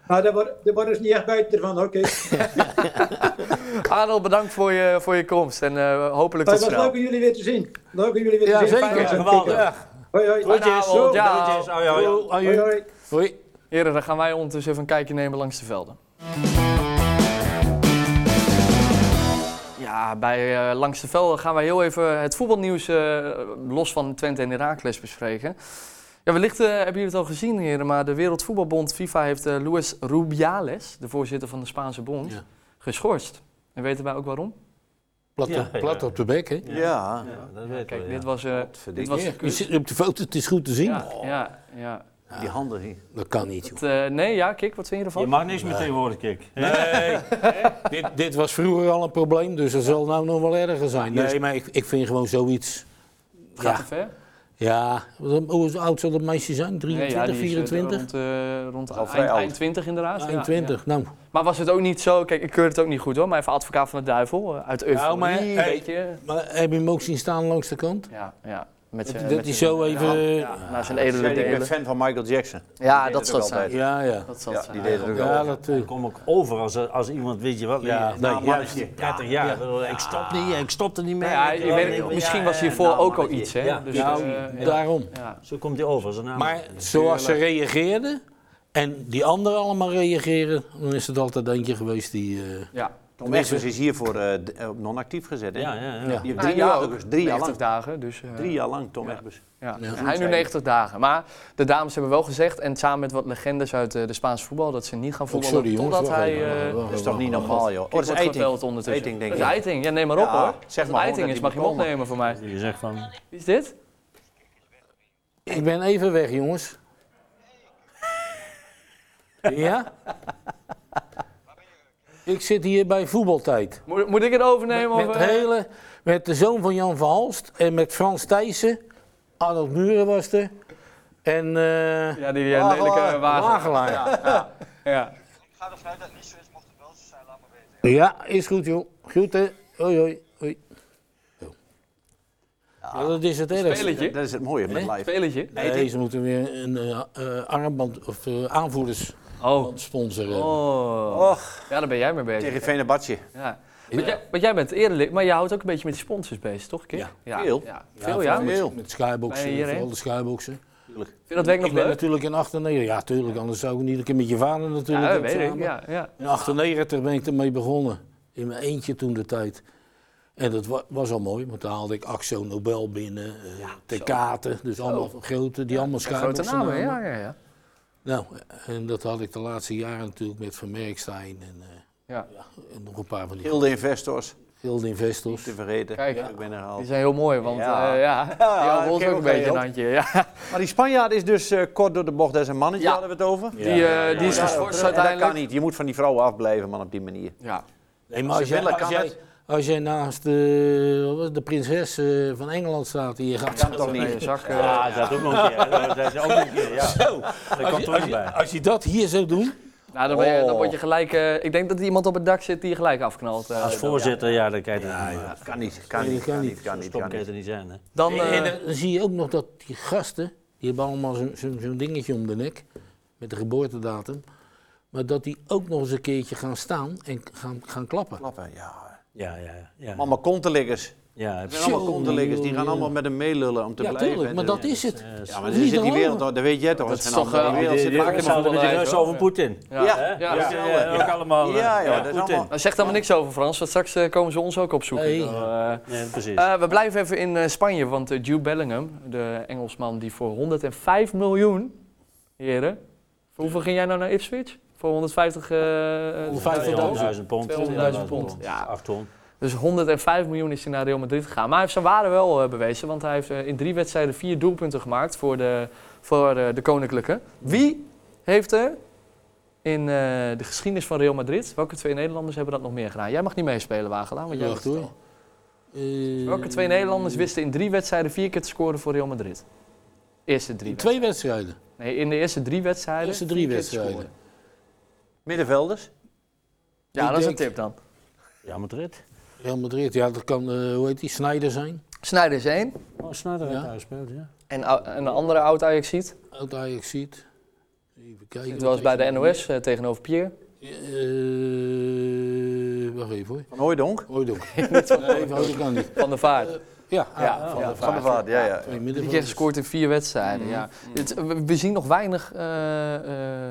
Maar daar wordt daar wordt dus niet echt beter van, oké. Het
Arnold, bedankt voor je, voor je komst. En eh, hopelijk tot
was
snel.
leuk om jullie weer te zien. Leuk om jullie weer te
Ja,
zien.
zeker.
Fijn om te
geweldig.
kijken. Hoi, hoi.
Goedjes.
Zo.
Goed, ja.
Groetjes. Oh, ja, ja.
Hoi, hoi.
Hoi.
Heren, dan gaan wij ondertussen even een kijkje nemen langs de velden. Ja, bij eh, Langs de Velden gaan wij heel even het voetbalnieuws eh, los van Twente en Heracles bespreken. Ja, wellicht eh, hebben jullie het al gezien, heren, maar de Wereldvoetbalbond FIFA heeft eh, Luis Rubiales, de voorzitter van de Spaanse bond,
Ja.
geschorst. En weten wij ook waarom?
Plat, eh,
Ja, ja.
plat op de bek, hè?
Ja.
dat weet
Kijk,
ik
dit was, eh dit was
Ja, je zit op de foto, het is goed te zien. Oh,
Ja, ja, ja.
Die handen hier.
Dat kan niet, joh.
Het, eh, nee, ja, Kik, wat vind je ervan?
Je mag niks meer tegenwoordig, Kik.
dit, dit was vroeger al een probleem, dus dat zal nou nog wel erger zijn.
Nee.
Nee, maar ik, ik vind gewoon zoiets...
Gaat te
Ja,
ver?
ja. hoe oud zal dat meisje zijn?
Nee,
23,
ja, die is, eh,
24?
Rond, eh rond
Al vrij
eind,
oud.
eind 20 inderdaad. Ah, ja,
21,
ja.
nou.
Maar was het ook niet zo, kijk, ik keur het ook niet goed hoor, maar even advocaat van de duivel, eh, uit euforie,
maar,
een
hey.
beetje.
Maar heb je hem ook zien staan langs de kant?
Ja, ja. Met zijn-
Dat
Eh, met
hij
zijn-
zo even...
Ja,
Ja,
naar zijn
Ik
edele
ben
delen.
fan van Michael Jackson.
Ja,
Die
dat
deed
zal
het ook
het zijn.
eh, ja. ja.
Dat zal
Ja,
het zijn.
die deden er ook
Ja,
wel.
dat,
Ik kom ook over als, als iemand, weet je wel,
Ja,
ja,
nee,
nou,
juist.
30 jaar. Ik bedoel, Ik stop niet, ik stop er niet mee.
Nou ja,
Ik-
je weet-
ik-
misschien
ja,
was
ja,
hiervoor
nou,
ook al
mannetje.
iets, hè?
Ja.
Dus,
ja,
eh, ja.
Nou, daarom.
Ja.
Zo komt hij over, zijn naam.
Maar zoals ze reageerden en die anderen allemaal reageren, dan is het altijd eentje geweest die. eh,
ja.
Tom Essens is hiervoor eh, d- eh, op non-actief gezet. Hè?
Ja, ja, ja.
Ja.
Die heeft
Nou,
drie
ja,
jaar,
ook
dus drie jaar
90
lang.
dagen. Dus, eh,
Drie jaar lang Tom Egbers.
Ja.
Ja.
En hij nu 90 dagen. Maar de dames hebben wel gezegd, en samen met wat legendes uit eh, de Spaanse voetbal, dat ze niet gaan
oh,
voetballen.
sorry jongens,
totdat
wacht
hij.
even, wacht,
eh,
wacht,
Dat is
wacht,
toch niet
wacht.
normaal, joh. Oh, dat is
wordt
Eiting.
gebeld ondertussen.
Eiting, denk
Dat
ik.
is Eiting. Ja, neem maar op
Ja,
hoor.
zeg
Als het
maar
Eiting
gewoon
is,
dat
mag je
die
mond
komen.
nemen voor mij.
Je zegt van,
Wie is dit?
Ik ben even weg, jongens. ja? Ik zit hier bij voetbaltijd.
Moet, moet ik het overnemen?
Met,
of, eh?
hele, met de zoon van Jan van Halst en met Frans Thijssen. Arnold Muren was er. En eh
Ja, die eh, lelijke wagen.
Wagelaar.
Ja.
Ik ga ervan uit dat het niet zo is, mocht het wel zo zijn, laat maar weten.
Ja, is goed joh. Groeten. Hoi hoi. hoi. Zo. Ja, dat is het ergste.
Speletje.
Dat is het mooie met live.
Spelletje.
Nee, deze moeten weer een eh, eh, armband of eh, aanvoerders
Oh.
sponsoren.
Oh.
Och,
Ja, daar ben jij mee bezig.
tegen Venebadje.
Ja. Want, jij, want jij bent eerder lid, maar je houdt ook een beetje met die sponsors bezig, toch? Kik?
Ja.
Veel.
Ja.
Ja,
Veel, ja.
Met,
Vind
Veel.
met skyboxen,
Bij iedereen.
vooral de skyboxen.
je dat werk nog
ik ben
leuk?
natuurlijk in 98, ja tuurlijk, anders zou ik niet. Ik heb met je vader natuurlijk
Ja,
ook
weet ik.
samen.
Ja, ja.
In 98 ben ik ermee begonnen. In mijn eentje toen de tijd. En dat wa- was al mooi, want daar haalde ik Axo Nobel binnen, eh Tecate, dus allemaal grote, die allemaal
Grote
skyboxen
namen,
namen.
ja, ja, ja.
Nou, en dat had ik de laatste jaren natuurlijk met Van Merkstein en, eh,
Ja.
en nog een paar van die
Heel de investors,
gilde investors.
te vergeten.
Kijk.
ik ben er al.
Die zijn heel mooi, want ja,
Ja.
ja. die
ik
hadden ons
ken
ook een
ook
beetje een
wel.
handje. Ja.
Maar die Spanjaard is dus eh, kort door de bocht. Dat is een mannetje,
Ja.
hadden we het over.
Die, eh, die is
Ja,
geschorst
en dat
uiteindelijk.
kan niet. Je moet van die vrouwen afblijven, man, op die manier.
Ja.
Nee, maar als,
Ze
jij,
willen,
als,
kan
jij,
het.
als jij naast de, wat was het, de prinses eh, van Engeland staat die je gaat...
Kan toch niet.
Nee, je zak. eh,
ja, dat ook nog een keer. Dat is ook nog een keer, ja. Dat
Als
komt
je,
er
als,
ook
je,
bij.
als je dat hier zou doen,
Nou, dan, ben je,
Oh.
dan word je gelijk. eh, ik denk dat er iemand op het dak zit die je gelijk afknalt. eh.
Als voorzitter, ja, dan kijk je ja, ja.
Kan niet, kan
Nee,
niet,
kan
kan
niet.
niet, kan niet.
Stom
kan
kan je
niet.
er niet zijn, hè.
Dan, eh,
en dan zie je ook nog dat die gasten, die hebben allemaal zo'n zo'n- zo'n dingetje om de nek, met de geboortedatum, maar dat die ook nog eens een keertje gaan staan en gaan, gaan klappen.
Klappen, ja.
Ja, ja, ja.
Allemaal konteliggers.
Ja,
Het zijn allemaal
Tjonge,
konteliggers. Die gaan
jonge,
allemaal met hem meelullen om te
Ja,
blijven.
tuurlijk, maar
Dus-
dat is het.
Ja, maar er
Niet
zit
te
die wereld,
geloven.
dat weet jij toch?
Dat
als
is
geen
toch,
ander.
eh,
Die
al
wereld
Die
zit vaak in
zouden met de
voetballerij,
Russen
hoor.
over Poetin.
ja.
ja.
Ja.
Ja, ja, ook allemaal. eh,
Ja, ja,
ja,
dat is
Poetin.
allemaal-
Nou, zeg daar maar niks over, Frans, want straks eh, komen ze ons ook opzoeken.
Nee.
Dus, eh,
Ja, precies.
Eh, we blijven even in eh, Spanje, want eh, Jude Bellingham, de Engelsman die voor 105 miljoen, heren, voor hoeveel ging jij nou naar Ipswich? Voor 150, eh, eh,
150.000.
200.000 pond.
200.000 pond. Ja.
Ja. 8 ton.
Dus 105 miljoen is hij naar Real Madrid gegaan. Maar hij heeft zijn waarde wel eh, bewezen, want hij heeft eh, in drie wedstrijden vier doelpunten gemaakt voor de, voor, eh, de Koninklijke. Wie heeft er in eh, de geschiedenis van Real Madrid, welke twee Nederlanders hebben dat nog meer gedaan? Jij mag niet meespelen, Wagelaar, want jij
Wacht
weet het
hoor.
al.
Eh,
Welke twee Nederlanders wisten in drie wedstrijden vier keer te scoren voor Real Madrid? Eerste drie.
Twee wedstrijden.
wedstrijden. Nee, in de eerste drie wedstrijden.
Eerste drie
vier keer te
wedstrijden.
scoren.
Middenvelders?
Ja,
Ik
dat is een
denk-
tip dan.
Ja, Madrid.
Real Madrid, ja, dat kan, eh, hoe heet die, Snyder zijn.
Sneijder is één.
Oh, Sneijder heeft
Ja.
uitgespeeld, ja.
En, ou- en de andere oud Ajax ziet.
Oud Ajax ziet. Even kijken.
Dit was bij de NOS eh, tegenover Pier.
Eh, wacht even hoor. eh,
Van Hooijdonk?
Hooidonk. nee, Hooidonk kan niet.
Van der Vaart.
Ja,
Ja,
van,
ja,
de
Van de Vaart, ja, ja.
Twee
Die dus. keer
middenvelders.
gescoord in vier wedstrijden. Ja. Het- we, we zien nog weinig eh,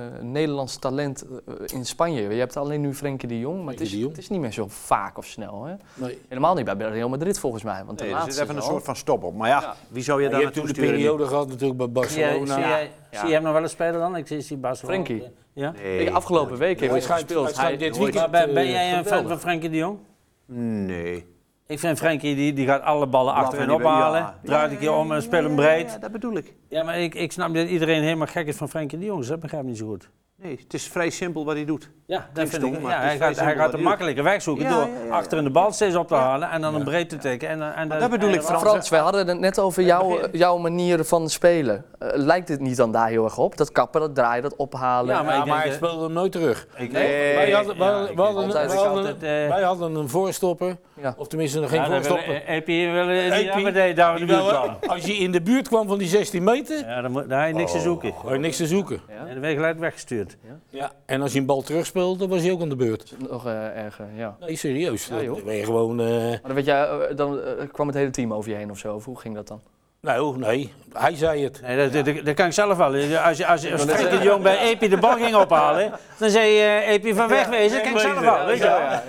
eh, Nederlands talent eh, in Spanje. Je hebt alleen nu Frenkie de Jong, maar het is,
Frenkie de Jong.
het is niet meer zo vaak of snel. Hè?
Nee.
Helemaal niet bij Real Madrid volgens mij. Want de
Nee, er
laatste
zit even een
wel.
soort van stop op. Maar ja,
Ja.
wie zou je
Je
daar
hebt
naartoe
toen de
sturen? nu?
periode gehad natuurlijk bij
Zie jij,
Barcelona.
zie, jij,
Ja.
zie jij hem nog wel eens spelen dan? Ik zie, zie Barcelona.
Frenkie?
Ja?
Nee.
Ik, afgelopen week heeft hij
schijnt-
gespeeld.
hij schijnt
Hij-
dit weekend,
nooit-
Maar ben, ben
eh,
jij een fan
geweldig.
van Frenkie de Jong?
Nee.
Ik vind Frenkie, die, die gaat alle ballen
Laat
achterin
hem niet bij-
ophalen.
ja.
Draait een keer om en speel hem breed.
Ja, dat bedoel ik.
Ja, maar ik, ik snap dat iedereen helemaal gek is van Frenkie de Jong. Dus dat begrijp ik niet zo goed.
Nee, het is vrij simpel wat hij doet.
Ja, dat
Klinkt
vind
stom,
ik.
maar
Ja,
het is
hij
vrij
gaat, hij
simpel
gaat de
wat hij
makkelijke weg zoeken
Ja,
door
ja, ja, ja.
achterin de bal steeds op te halen en dan een breed te tikken. En, en, en,
dat bedoel
en-
ik,
en-
Frans,
Frans, wij hadden het net over jouw,
begin.
jouw manier van spelen. Eh, lijkt dit niet dan daar heel erg op? Dat kappen, dat draaien, dat ophalen.
Ja, maar
Ja,
ik
maar
denk
hij
dat-
speelde hem nooit terug.
Ik-
Nee.
Wij hadden- wij hadden- wij hadden-
altijd-
wij
ik
hadden-
altijd, eh,
Wij hadden een voorstopper.
Ja.
Of tenminste, nog geen
Ja, dat wil-
voorstopper.
eh, EP willen
Epi,
die hebben deed daar in de
die
buurt
wel-
kwam.
Als je in de buurt kwam van die 16 meter,
Ja, dan moet, daar heb je niks te zoeken.
had je niks te zoeken.
En dan werd je gelijk weggestuurd.
Ja. En als je een bal terugspeelde, was je ook aan de beurt.
Nog eh, erger, ja.
Nee, serieus.
Ja, joh.
dan ben je gewoon... eh,
Maar dan, werd jij, eh, dan eh, kwam het hele team over je heen of zo. Of hoe ging dat dan?
nou, nee. Hij zei het.
Nee, dat, dat, dat kan ik zelf wel. Als je, als je, als je- als Frenkie de Jong bij Epi de bal ging ophalen, dan zei je eh, Epi van wegwezen. Dat kan ik zelf wel. Weet je wel. Dus-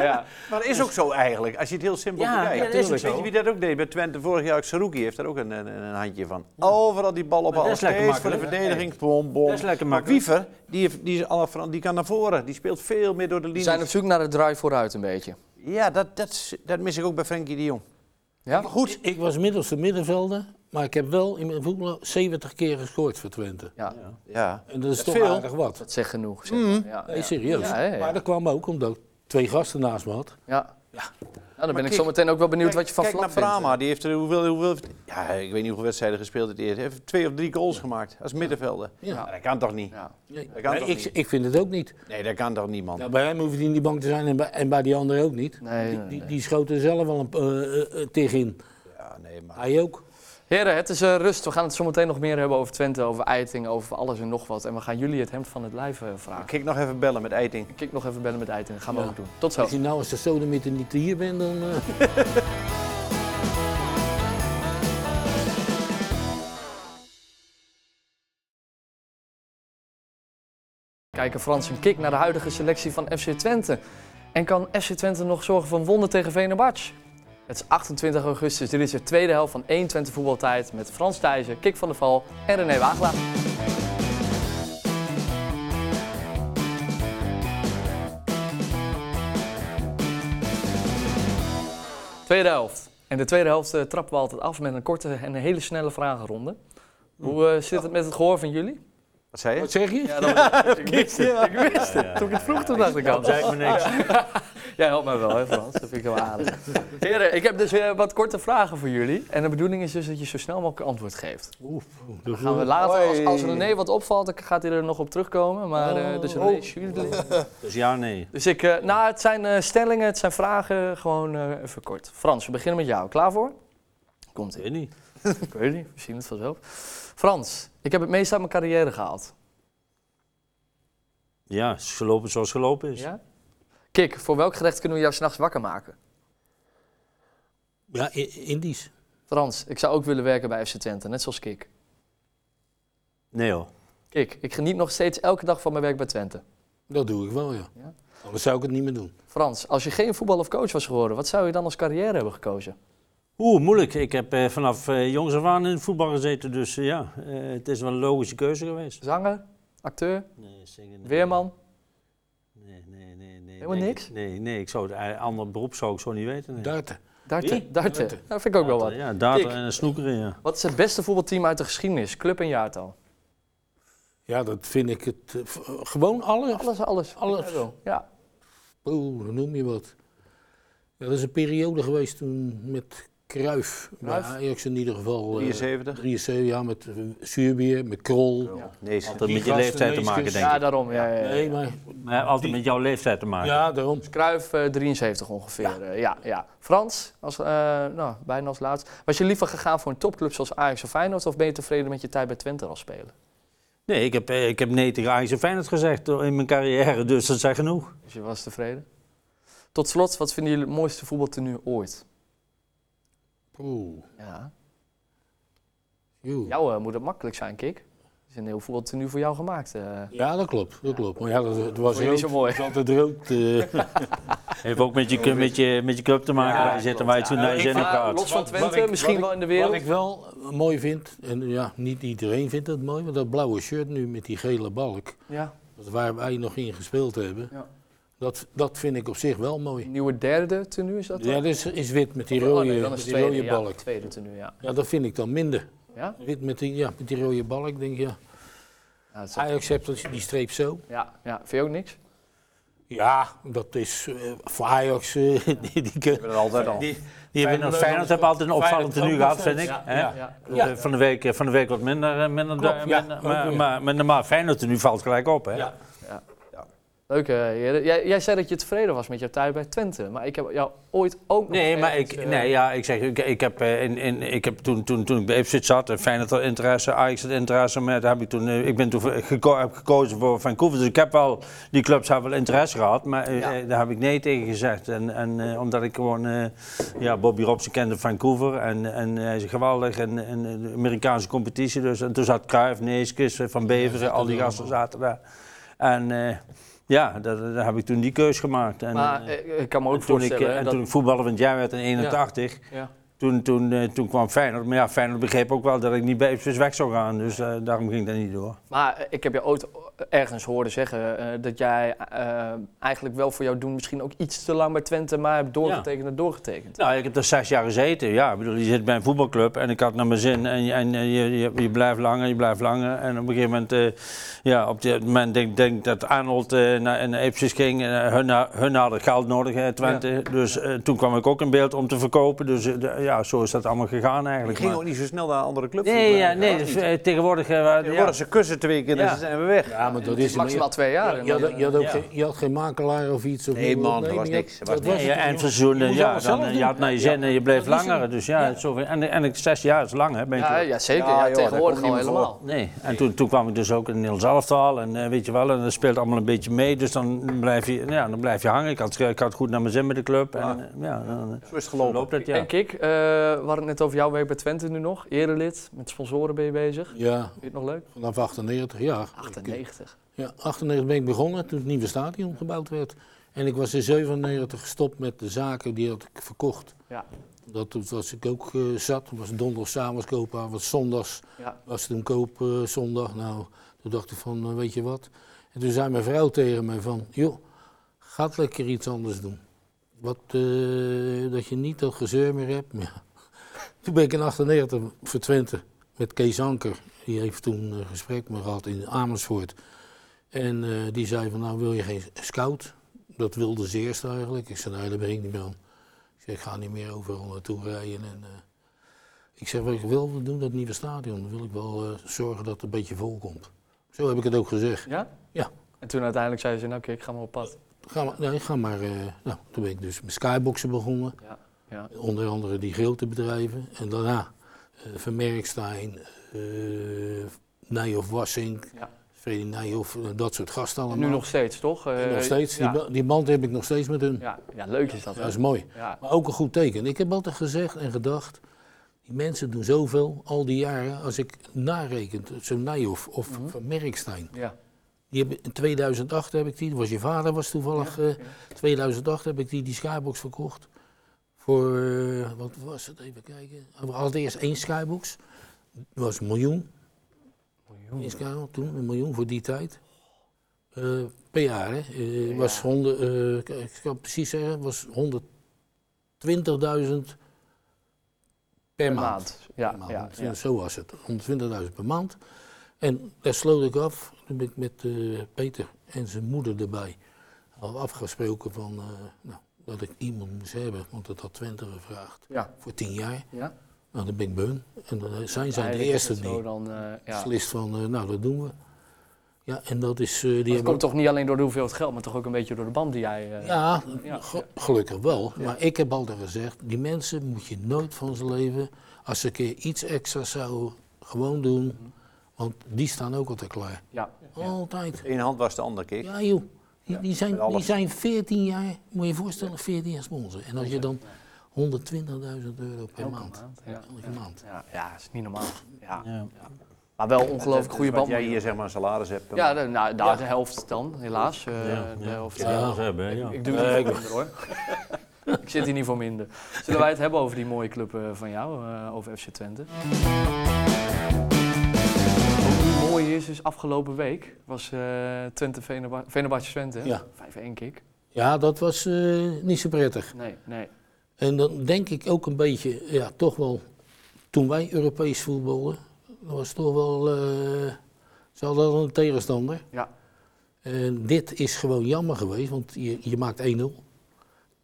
Maar dat is ook zo eigenlijk, als je het heel simpel
Ja,
bekijkt.
ja, dat is ook
Weet
zo.
je wie dat ook deed bij Twente vorig jaar? Saruki heeft daar ook een, een, een handje van. Overal die bal op
dat
al
is lekker
steeds voor de
makkelijk.
verdediging. Bom, bom.
Dat is lekker
Maar
makkelijk.
Wiever, die, heeft- die, is alle Fran- die kan naar voren. Die speelt veel meer door de
We
linie.
zijn op zoek naar de draai vooruit een beetje.
Ja, dat, dat, is- dat mis ik ook bij Frenkie de Jong.
Ja?
Goed, ik was middelste middenvelder, maar ik heb wel in mijn voetbal 70 keer gescoord voor Twente.
Ja,
Ja.
En dat is toch
veel.
aardig wat.
dat zegt genoeg. zeg maar. Ja,
Nee,
ja.
serieus.
Ja, ja, ja.
Maar dat kwam ook omdat ik twee gasten naast me had.
Ja. Nou, dan ben ik
kijk-
zometeen ook wel benieuwd wat je van
kijk
Flap
naar
vindt.
Brahma, die heeft er hoeveel, hoeveel... Ja, ik weet niet hoeveel wedstrijden gespeeld het eerst. Hij heeft twee of drie goals gemaakt als middenvelder.
Ja.
Maar dat kan toch niet?
Ja.
Dat kan
Maar
toch
ik,
niet?
ik vind het ook niet.
Nee, dat kan toch niemand?
Nou, bij hem hoeft hij in die bank te zijn en bij, en bij die anderen ook niet.
Nee,
die,
nee,
die,
nee.
die schoten zelf wel een eh, eh, tegen in.
Ja, nee, maar...
Hij ook.
Heren, het is eh, rust. We gaan het zometeen nog meer hebben over Twente, over Eiting, over alles en nog wat. En we gaan jullie het hemd van het lijf eh, vragen.
Kijk nog even bellen met Eiting.
Ik kijk nog even bellen met Eiting. Gaan we
Ja.
ook doen. Tot zo.
Als je nou als de sodemieter niet hier bent, dan... eh,
Kijken Frans en Kik naar de huidige selectie van FC Twente. En kan FC Twente nog zorgen voor een wonder tegen Venerbahce? Het is 28 augustus, dit is de tweede helft van 1 Twente voetbaltijd met Frans Thijssen, Kik van der Val en René Wagelaar. Tweede helft. En de tweede helft eh, trappen we altijd af met een korte en een hele snelle vragenronde. Hoe eh, zit het met het gehoor van jullie?
Wat zei je?
wat zeg je?
Ik wist het, ik wist het. Toen ik het vroeg, toen dacht ik al.
Zei ik me niks.
Jij helpt mij wel, hè Frans? Dat vind ik heel aardig. Heren, ik heb dus weer wat korte vragen voor jullie. En de bedoeling is dus dat je zo snel mogelijk antwoord geeft. Dan gaan we later, als, als René wat opvalt, dan gaat hij er nog op terugkomen. Maar eh dus René, Sjoerd-
Dus ja, nee.
Dus ik, eh, nou, het zijn eh, stellingen, het zijn vragen. Gewoon eh, even kort. Frans, we beginnen met jou. Klaar voor? Komt
Ik
ie.
weet niet.
Ik weet niet, we zien het vanzelf. Frans, ik heb het meest uit mijn carrière gehaald.
Ja, het is gelopen zoals gelopen is.
Ja? Kik, voor welk gerecht kunnen we jou s'nachts wakker maken?
Ja, I- Indisch.
Frans, ik zou ook willen werken bij FC Twente, net zoals Kik.
Nee hoor.
Kik, ik geniet nog steeds elke dag van mijn werk bij Twente.
Dat doe ik wel, ja.
Ja?
Anders zou ik het niet meer doen.
Frans, als je geen voetbal of coach was geworden, wat zou je dan als carrière hebben gekozen?
Oeh, moeilijk. Ik heb eh, vanaf eh, jongs af aan in het voetbal gezeten, dus eh, ja, eh, het is wel een logische keuze geweest.
Zanger, acteur,
Nee, zingen, nee.
weerman?
Nee, nee, nee. nee
Helemaal
nee,
niks?
ik- Nee, nee, ik zou het eh, ander beroep zou ik zo niet weten. nee.
Darten.
Darten,
Wie?
darten.
Darten.
Dat Nou, vind ik ook wel wat.
Ja, data
Kik.
en een snoekeren, ja.
Wat is het beste voetbalteam uit de geschiedenis, club en jaartal?
Ja, dat vind ik het... eh, v- gewoon alle,
Alles, alles.
Alles.
Ja.
Oeh, dan noem je wat. Ja, dat is een periode geweest toen met Kruif. Bij
Cruijff?
Ajax in ieder geval. eh,
73?
73, ja, met eh, Zuurbier, met Krol.
Oh, Nee,
Altijd
Die
met je
gasten,
leeftijd te
meesters.
maken, denk
ja,
ik.
daarom. Ja, ja, ja.
Nee, maar
Maar altijd met jouw leeftijd te maken.
ja, daarom.
Cruijff, eh, 73 ongeveer. eh, Ja. ja, Frans, als, eh, nou, bijna als laatst. Was je liever gegaan voor een topclub zoals Ajax of Feyenoord... of ben je tevreden met je tijd bij Twente als speler?
Nee, ik heb, eh, ik heb nee tegen Ajax en Feyenoord gezegd eh, in mijn carrière, dus dat zijn genoeg.
Dus je was tevreden? Tot slot, wat vinden jullie het mooiste voetbaltenue ooit?
Oeh.
Ja.
joe.
Jou eh, moet het makkelijk zijn, Kik. Er is een heel voetbaltenu voor jou gemaakt. eh.
Ja, dat klopt. Dat klopt. Maar ja, dat, het was
Vond je niet zo mooi?
Het was altijd rood. eh.
Heeft ook met je, met je, met je club te maken. waar je zit en waar je toen naar je zin op
Maar
gaat.
los van Twente,
ik-
misschien wel in de wereld.
Wat ik wel eh, mooi vind, en ja, niet iedereen vindt dat mooi, maar dat blauwe shirt nu met die gele balk,
ja.
dat waar wij nog in gespeeld hebben,
Ja.
dat, dat vind ik op zich wel mooi.
Nieuwe derde tenue is dat?
Ja,
dan?
dat is, is wit met die
Oh,
rode,
nee, dan
met
is
die
tweede,
rode
ja,
balk.
tweede tenue, ja.
Ja, dat vind ik dan minder.
Ja? Nou,
Wit met die, ja, met die rode balk, denk ik, ja.
Ja, dat is-
Ajax heeft dat- die streep zo.
ja, ja. Vind je ook niks?
Ja, dat is eh, voor Ajax, eh, die, die kun-
dat altijd al.
Die, die hebben nog Feyenoord hebben altijd een opvallend tenue gehad, vind ik. hè?
ja.
Eh, Van, de week, van de week wat minder. eh, minder,
Klopt, ja.
minder-
Ook
maar,
weer.
maar, maar normaal Feyenoord tenue valt gelijk op. Hè?
Ja.
Leuk, eh, heren. Jij, jij zei dat je tevreden was met jouw tijd bij Twente. Maar ik heb jou ooit ook nog
Nee, maar
ergens,
ik,
eh,
nee, ja, ik zeg, ik, ik heb, eh, in, in, ik heb toen, toen, toen ik bij Ipswich zat, eh, Feyenoord had interesse, Ajax had interesse, maar daar heb ik toen, eh, ik ben toen voor- geko- heb gekozen voor Vancouver, dus ik heb wel, die clubs hebben wel interesse gehad, maar eh, eh, daar heb ik nee tegen gezegd. En, en eh, omdat ik gewoon, eh, ja, Bobby Robson kende Vancouver en, en hij is geweldig en, en de Amerikaanse competitie dus. En toen zat Cruijff, Neeskens, eh, Van Beveren, al die gasten zaten daar. En eh, ja, daar, daar heb ik toen die keus gemaakt. En,
Maar
eh,
eh, ik kan me ook
en toen, ik,
voorstellen
eh, en
dat...
toen ik voetballer van het jaar werd in 81,
ja.
toen, toen, eh, toen kwam Feyenoord. Maar ja, Feyenoord begreep ook wel dat ik niet bij Ipswich weg zou gaan. Dus eh, daarom ging dat niet door.
Maar eh, ik heb je ooit ergens horen zeggen eh, dat jij eh, eigenlijk wel voor jou doen misschien ook iets te lang bij Twente, maar hebt doorgetekend en doorgetekend.
Nou, ik heb er zes jaar gezeten. Ja, ik bedoel, je zit bij een voetbalclub en ik had naar mijn zin. En, je- en eh, je, je, je blijft langer, je blijft langer. En op een gegeven moment, eh, ja, op dit moment denk ik dat Arnold eh, naar, naar Ipswich ging. En, eh, hun, ha- hun hadden geld nodig, eh, Twente. Dus eh, toen kwam ik ook in beeld om te verkopen. Dus eh, d- ja, zo is dat allemaal gegaan
Ik
eigenlijk.
ging
Maar-
ook niet zo snel naar een andere club.
Nee, ja, nee, dus, eh, tegenwoordig... eh, wa-
Er
ja.
worden ze kussen twee keer en
Ja.
ze zijn weer weg.
ja, maar dat
Het is
is
Dus maximaal twee jaar. en
Je
dan,
had, je, had ook
Ja.
geen, je had geen makelaar of iets. Of
Nee, man,
dat
er was niks. Er was
dat
niks.
was
Nee,
het.
en verzoenen,
moest
ja,
alles zelf
dan, eh, je
doen.
had naar je zin en je bleef
Dat is
langer. Dus ja, zoveel- en, en ik, zes jaar is lang, hè, ben je
ja,
club.
ja, zeker.
Ja,
Ja,
joh,
tegenwoordig
daar
al
komt niemand
helemaal.
Nee, en toen, toen kwam ik dus ook in Niels Elftal en eh, weet je wel, en dat speelt allemaal een beetje mee. Dus dan blijf je, ja, dan blijf je hangen. Ik had, ik had goed naar mijn zin met de club. En, eh, ja, dan, eh,
Zo is het
dan
gelopen.
loopt dat, ja.
En Kik, eh, we hadden het net over jouw werk bij Twente nu nog. Erelid, met sponsoren ben je bezig. Vind
Ja,
je het nog leuk?
vanaf 98 jaar.
98.
Ja, 98 ben ik begonnen toen het nieuwe stadion gebouwd werd. En ik was in 97 gestopt met de zaken die had ik verkocht.
Ja.
Dat, toen was ik ook eh, zat. Toen was donderdag s'avonds kopen, was zondags
Ja.
was toen koop eh, zondag. Nou, toen dacht ik van, eh, weet je wat. En toen zei mijn vrouw tegen mij van, joh, ga lekker iets anders doen. Wat, eh, dat je niet dat gezeur meer hebt. Ja. Toen ben ik in 98 voor Twente met Kees Anker. Die heeft toen een gesprek me gehad in Amersfoort. En eh, die zei van, nou wil je geen scout? Dat wilde ze eerst eigenlijk. Ik zei, nee, daar ben ik niet meer aan. Ik zei, ik ga niet meer overal naartoe rijden. En, eh, ik zeg, wat ik wil we doen, dat nieuwe stadion, dan wil ik wel eh, zorgen dat het een beetje vol komt. Zo heb ik het ook gezegd.
Ja?
Ja.
En toen uiteindelijk zei ze, nou Kik, ga maar op pad.
Ga maar, nee, ga maar. eh, nou, toen ben ik dus met skyboxen begonnen.
Ja. Ja.
Onder andere die grote bedrijven. En daarna eh Vermerkstein, eh Nijhoff Wassink,
Ja.
Freddy Nijhoff, eh, dat soort gasten
En
allemaal.
nu nog steeds, toch?
En
Eh,
nog steeds.
Ja.
Die, ba- die band heb ik nog steeds met hun.
Ja. ja, leuk is dat. hè?
Dat is mooi.
Ja.
Maar ook een goed teken. Ik heb altijd gezegd en gedacht, die mensen doen zoveel al die jaren. Als ik nareken, zo'n Nijhoff of
Mhm.
Van Merkstein.
Ja.
Die hebben, in 2008 heb ik die, dat was je vader was toevallig, eh 2008 heb ik die, die skybox verkocht. Voor, eh, wat was het, even kijken. We hadden eerst één skybox, dat was een miljoen. miljoen. toen, een miljoen voor die tijd. Eh, per jaar, hè. Eh, was honderd, eh, ik- ik kan het precies zeggen, was 120.000 per maand
Ja,
per maand.
ja,
Zo-
ja.
Zo was het, 120.000 per maand. En daar sloot ik af, toen ben ik met eh, Peter en zijn moeder erbij al afgesproken van, eh, nou, dat ik iemand moest hebben, want dat had Twente gevraagd,
ja.
voor tien jaar.
ja.
Nou, dan ben ik bij hun. En dan eh, zijn zij de
Eigenlijk is
eerste
het
die
zo dan, eh, ja.
beslist van, eh, nou, dat doen we. Ja, en dat is... eh, die
Maar
hebben
het komt toch niet alleen door de hoeveelheid geld, maar toch ook een beetje door de band die jij... eh,
Ja,
Ja.
ge- gelukkig wel. Maar ik heb altijd gezegd, die mensen moet je nooit van ze leven. Als ze een keer iets extra zouden gewoon doen. Want die staan ook altijd klaar.
Mhm. ja.
Altijd.
De ene hand was de andere keer.
Ja joh, die, die, zijn,
alles.
die zijn 14 jaar, moet je je voorstellen, 14 jaar sponsor. En als je dan 120.000 euro per
Elke
maand.
maand, ja.
Elke maand.
Ja, ja, is niet normaal. Ja.
Ja.
Maar wel ongelooflijk goede
wat
band.
jij hier zeg maar een salaris hebt.
Ja, de, nou, daar de helft dan, helaas. eh, De helft.
Ja, ze hebben, eh, ja.
Ik doe het niet voor minder hoor. ik zit hier niet voor minder. Zullen wij het hebben over die mooie club eh, van jou, eh, over FC Twente? Hoe mooi is, is afgelopen week was eh Twente Veneba- Venabatje Twente. hè?
Ja.
5-1 kick.
Ja, dat was eh, niet zo prettig.
Nee, nee.
En dan denk ik ook een beetje, ja, toch wel, toen wij Europees voetballen, dat was toch wel, eh ze hadden al een tegenstander.
Ja.
En dit is gewoon jammer geweest, want je, je maakt 1-0.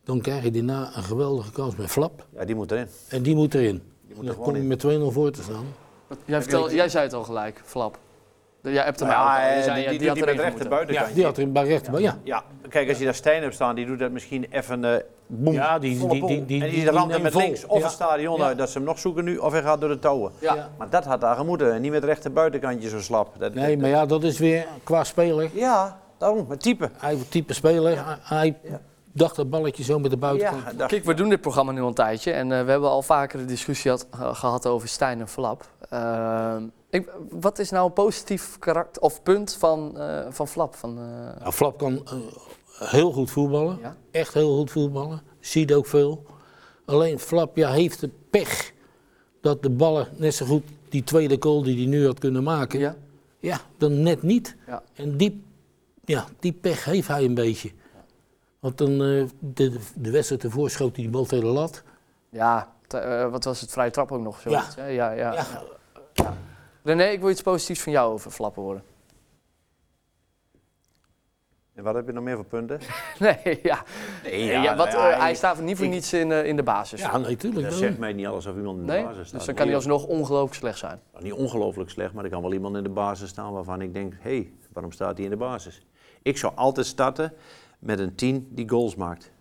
Dan krijg je daarna een geweldige kans met Flap.
Ja, die moet erin.
En die moet erin.
moet er
dan
gewoon
kom je met 2-0 voor te staan.
Jij, vertel, jij zei het al gelijk, Flap. Jij hebt hem
Nou
al.
ja,
Je
eh,
zei, ja,
die, die,
had
die
erin
met rechter
moeten.
buitenkantje.
Die had er een paar rechter bij. Ja,
Ja, kijk, als je daar Stijn hebt staan, die doet dat misschien even eh boem.
Ja, die-
volle
die-
bol.
die- die-
en die,
die-
ramt
die
hem met
neemt
links
vol.
of
Ja.
het stadion
Ja.
uit dat ze hem nog zoeken nu, of hij gaat door de touwen.
Ja.
Ja.
Maar dat had daar gemoeten en niet met rechterbuitenkantje zo slap. Dat,
nee, maar ja, dat is weer qua speler.
Ja, daarom, met type.
Hij type speler, hij hij dacht dat balletje zo met de buitenkant.
Ja, dat-
Kijk, we doen dit programma nu al een tijdje en eh, we hebben al vaker de discussie had- eh, gehad over Stijn en Flap. Ehm, ik, wat is nou een positief karakter of punt van, eh, van Flap? Van, eh,
Nou, Flap kan eh, heel goed voetballen.
Ja.
Echt heel goed voetballen. Ziet ook veel. Alleen Flap ja, heeft de pech dat de ballen net zo goed die tweede goal die hij nu had kunnen maken.
ja?
Ja, dan net niet.
Ja.
En die, ja, die pech heeft hij een beetje. Want dan, eh, de, de wedstrijd ervoor schoot hij die bal tegen de lat.
ja te- eh, wat was het? Vrije trap ook nog? Zoiets, ja. Ja, ja.
Ja,
René, ik wil iets positiefs van jou over Flap horen.
En wat heb je nog meer voor punten?
Nee, ja.
Nee,
ja, wat,
nou
eh, hij staat niet voor niets in, eh, in de basis.
ja nee, tuurlijk.
Dat zegt mij niet alles of iemand in de
nee?
basis staat.
Dus dan kan hij
Nee,
alsnog ongelooflijk slecht zijn.
Nou, Niet ongelooflijk slecht, maar er kan wel iemand in de basis staan waarvan ik denk, hé, hey, waarom staat hij in de basis? Ik zou altijd starten met een 10 die goals maakt.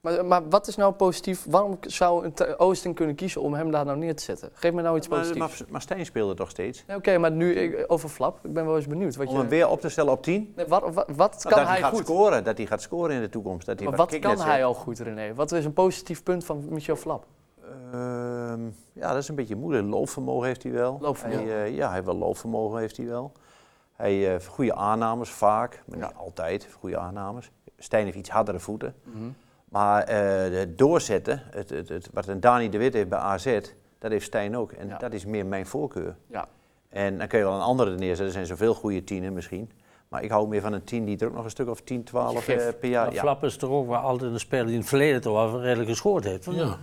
Maar, maar wat is nou positief? Waarom zou een te- Oosting kunnen kiezen om hem daar nou neer te zetten? Geef me nou iets
Maar,
positiefs.
maar, maar Stijn speelde toch steeds?
Nee, Oké, maar nu ik- over Flap. Ik ben wel eens benieuwd. Wat
Om
je,
hem weer op te stellen op 10?
Nee, wat, wat, wat
Nou,
kan
dat
hij
gaat
goed?
scoren, dat hij gaat scoren in de toekomst. Dat hij
Maar wat
kick
kan
net
hij
zet.
al goed, René? Wat is een positief punt van Michel Flap?
Ehm, ja, dat is een beetje moeilijk. Loopvermogen heeft hij wel.
Loopvermogen.
Hij, eh, ja, hij heeft wel loopvermogen heeft hij wel. Hij eh, heeft goede aannames vaak, maar niet altijd goede aannames. Stijn heeft iets hardere voeten.
Mhm.
Maar eh, het doorzetten, het, het, het, wat een Dani de Wit heeft bij AZ, dat heeft Stijn ook. En
Ja.
dat is meer mijn voorkeur.
Ja.
En dan kun je wel een andere neerzetten. Er zijn zoveel goede tienen misschien. Maar ik hou meer van een tien die er ook nog een stuk of 10, 12
Gif.
eh, per jaar.
Maar
Ja.
Flap is toch ook wel altijd een speler die in het verleden toch wel redelijk gescoord heeft. of niet?
Ja.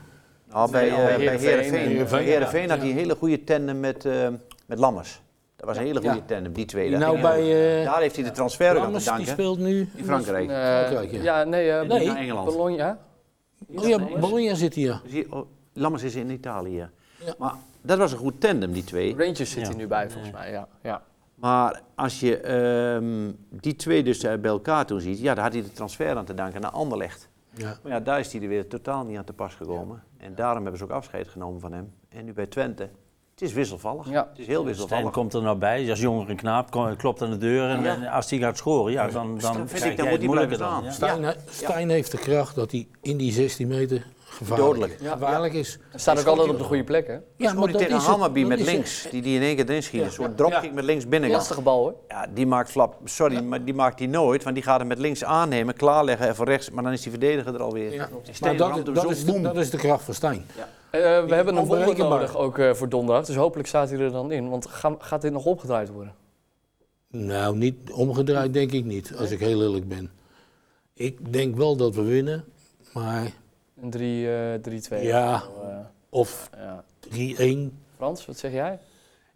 Nou, bij, eh, bij
Heerenveen.
Heerenveen,
Heerenveen,
Bij Heerenveen
ja.
had hij een hele goede tandem met, eh, met Lammers. Dat was een hele goede
Ja.
tandem, die twee.
Die
Dat
nou
ging heel goed.
bij eh
Daar heeft hij de transfer ook aan te
Lammers, die
danken.
speelt nu.
in Frankrijk.
Eh,
Frankrijk, ja.
ja, nee. eh,
Nee.
Naar Engeland.
Bologna.
Oh ja, Bologna zit hier.
Dus hier- oh, Lammers is in Italië.
Ja.
Maar dat was een goed tandem, die twee.
Rangers zit
Ja.
hij nu bij, volgens mij. Ja. Ja.
Maar als je ehm, die twee dus eh, bij elkaar toen ziet, ja, daar had hij de transfer aan te danken naar Anderlecht.
Ja.
Maar ja, daar is hij er weer totaal niet aan te pas gekomen. En daarom hebben ze ook afscheid genomen van hem. En nu bij Twente, het is wisselvallig.
Ja.
Het is heel
Stijn
wisselvallig.
komt er nou bij, als jongere knaap, ko- klopt aan de deur en,
Ja.
en als die gaat scoren, ja, dan, dan,
vind ik, dan
krijg jij
moet
het
die
moeilijker
blijven
dan.
staan.
Ja.
Stijn, Stijn heeft de kracht dat hij in die 16 meter gevaarlijk,
Dodelijk.
Ja.
gevaarlijk is.
Hij staat ook altijd op de goede plek, hè?
Ja,
Scoorde
dat
tegen
is het.
Hammarby
Dat
met
is het.
links, die die in één keer erin schiet. Een soort dropkick met links binnenkant.
Lastige bal, hoor. Eh,
Ja, die maakt flap, sorry, maar die maakt die nooit, want die gaat hem met links aannemen, klaarleggen en voor rechts, maar dan is die verdediger er alweer.
Ja.
Die
Maar
Stijn ramt
dat,
hem
dat
zo,
is de,
boem.
dat is de kracht van Stijn.
Eh, we hebben een wonder
onberekenbaar.
nodig ook eh, voor donderdag. Dus hopelijk staat hij er dan in. Want ga- gaat dit nog opgedraaid worden?
Nou, niet omgedraaid denk ik niet, als ik heel eerlijk ben. Ik denk wel dat we winnen, maar
Een 3, eh 3-2.
ja,
Eh,
of
ja.
3-1.
Frans, wat zeg jij?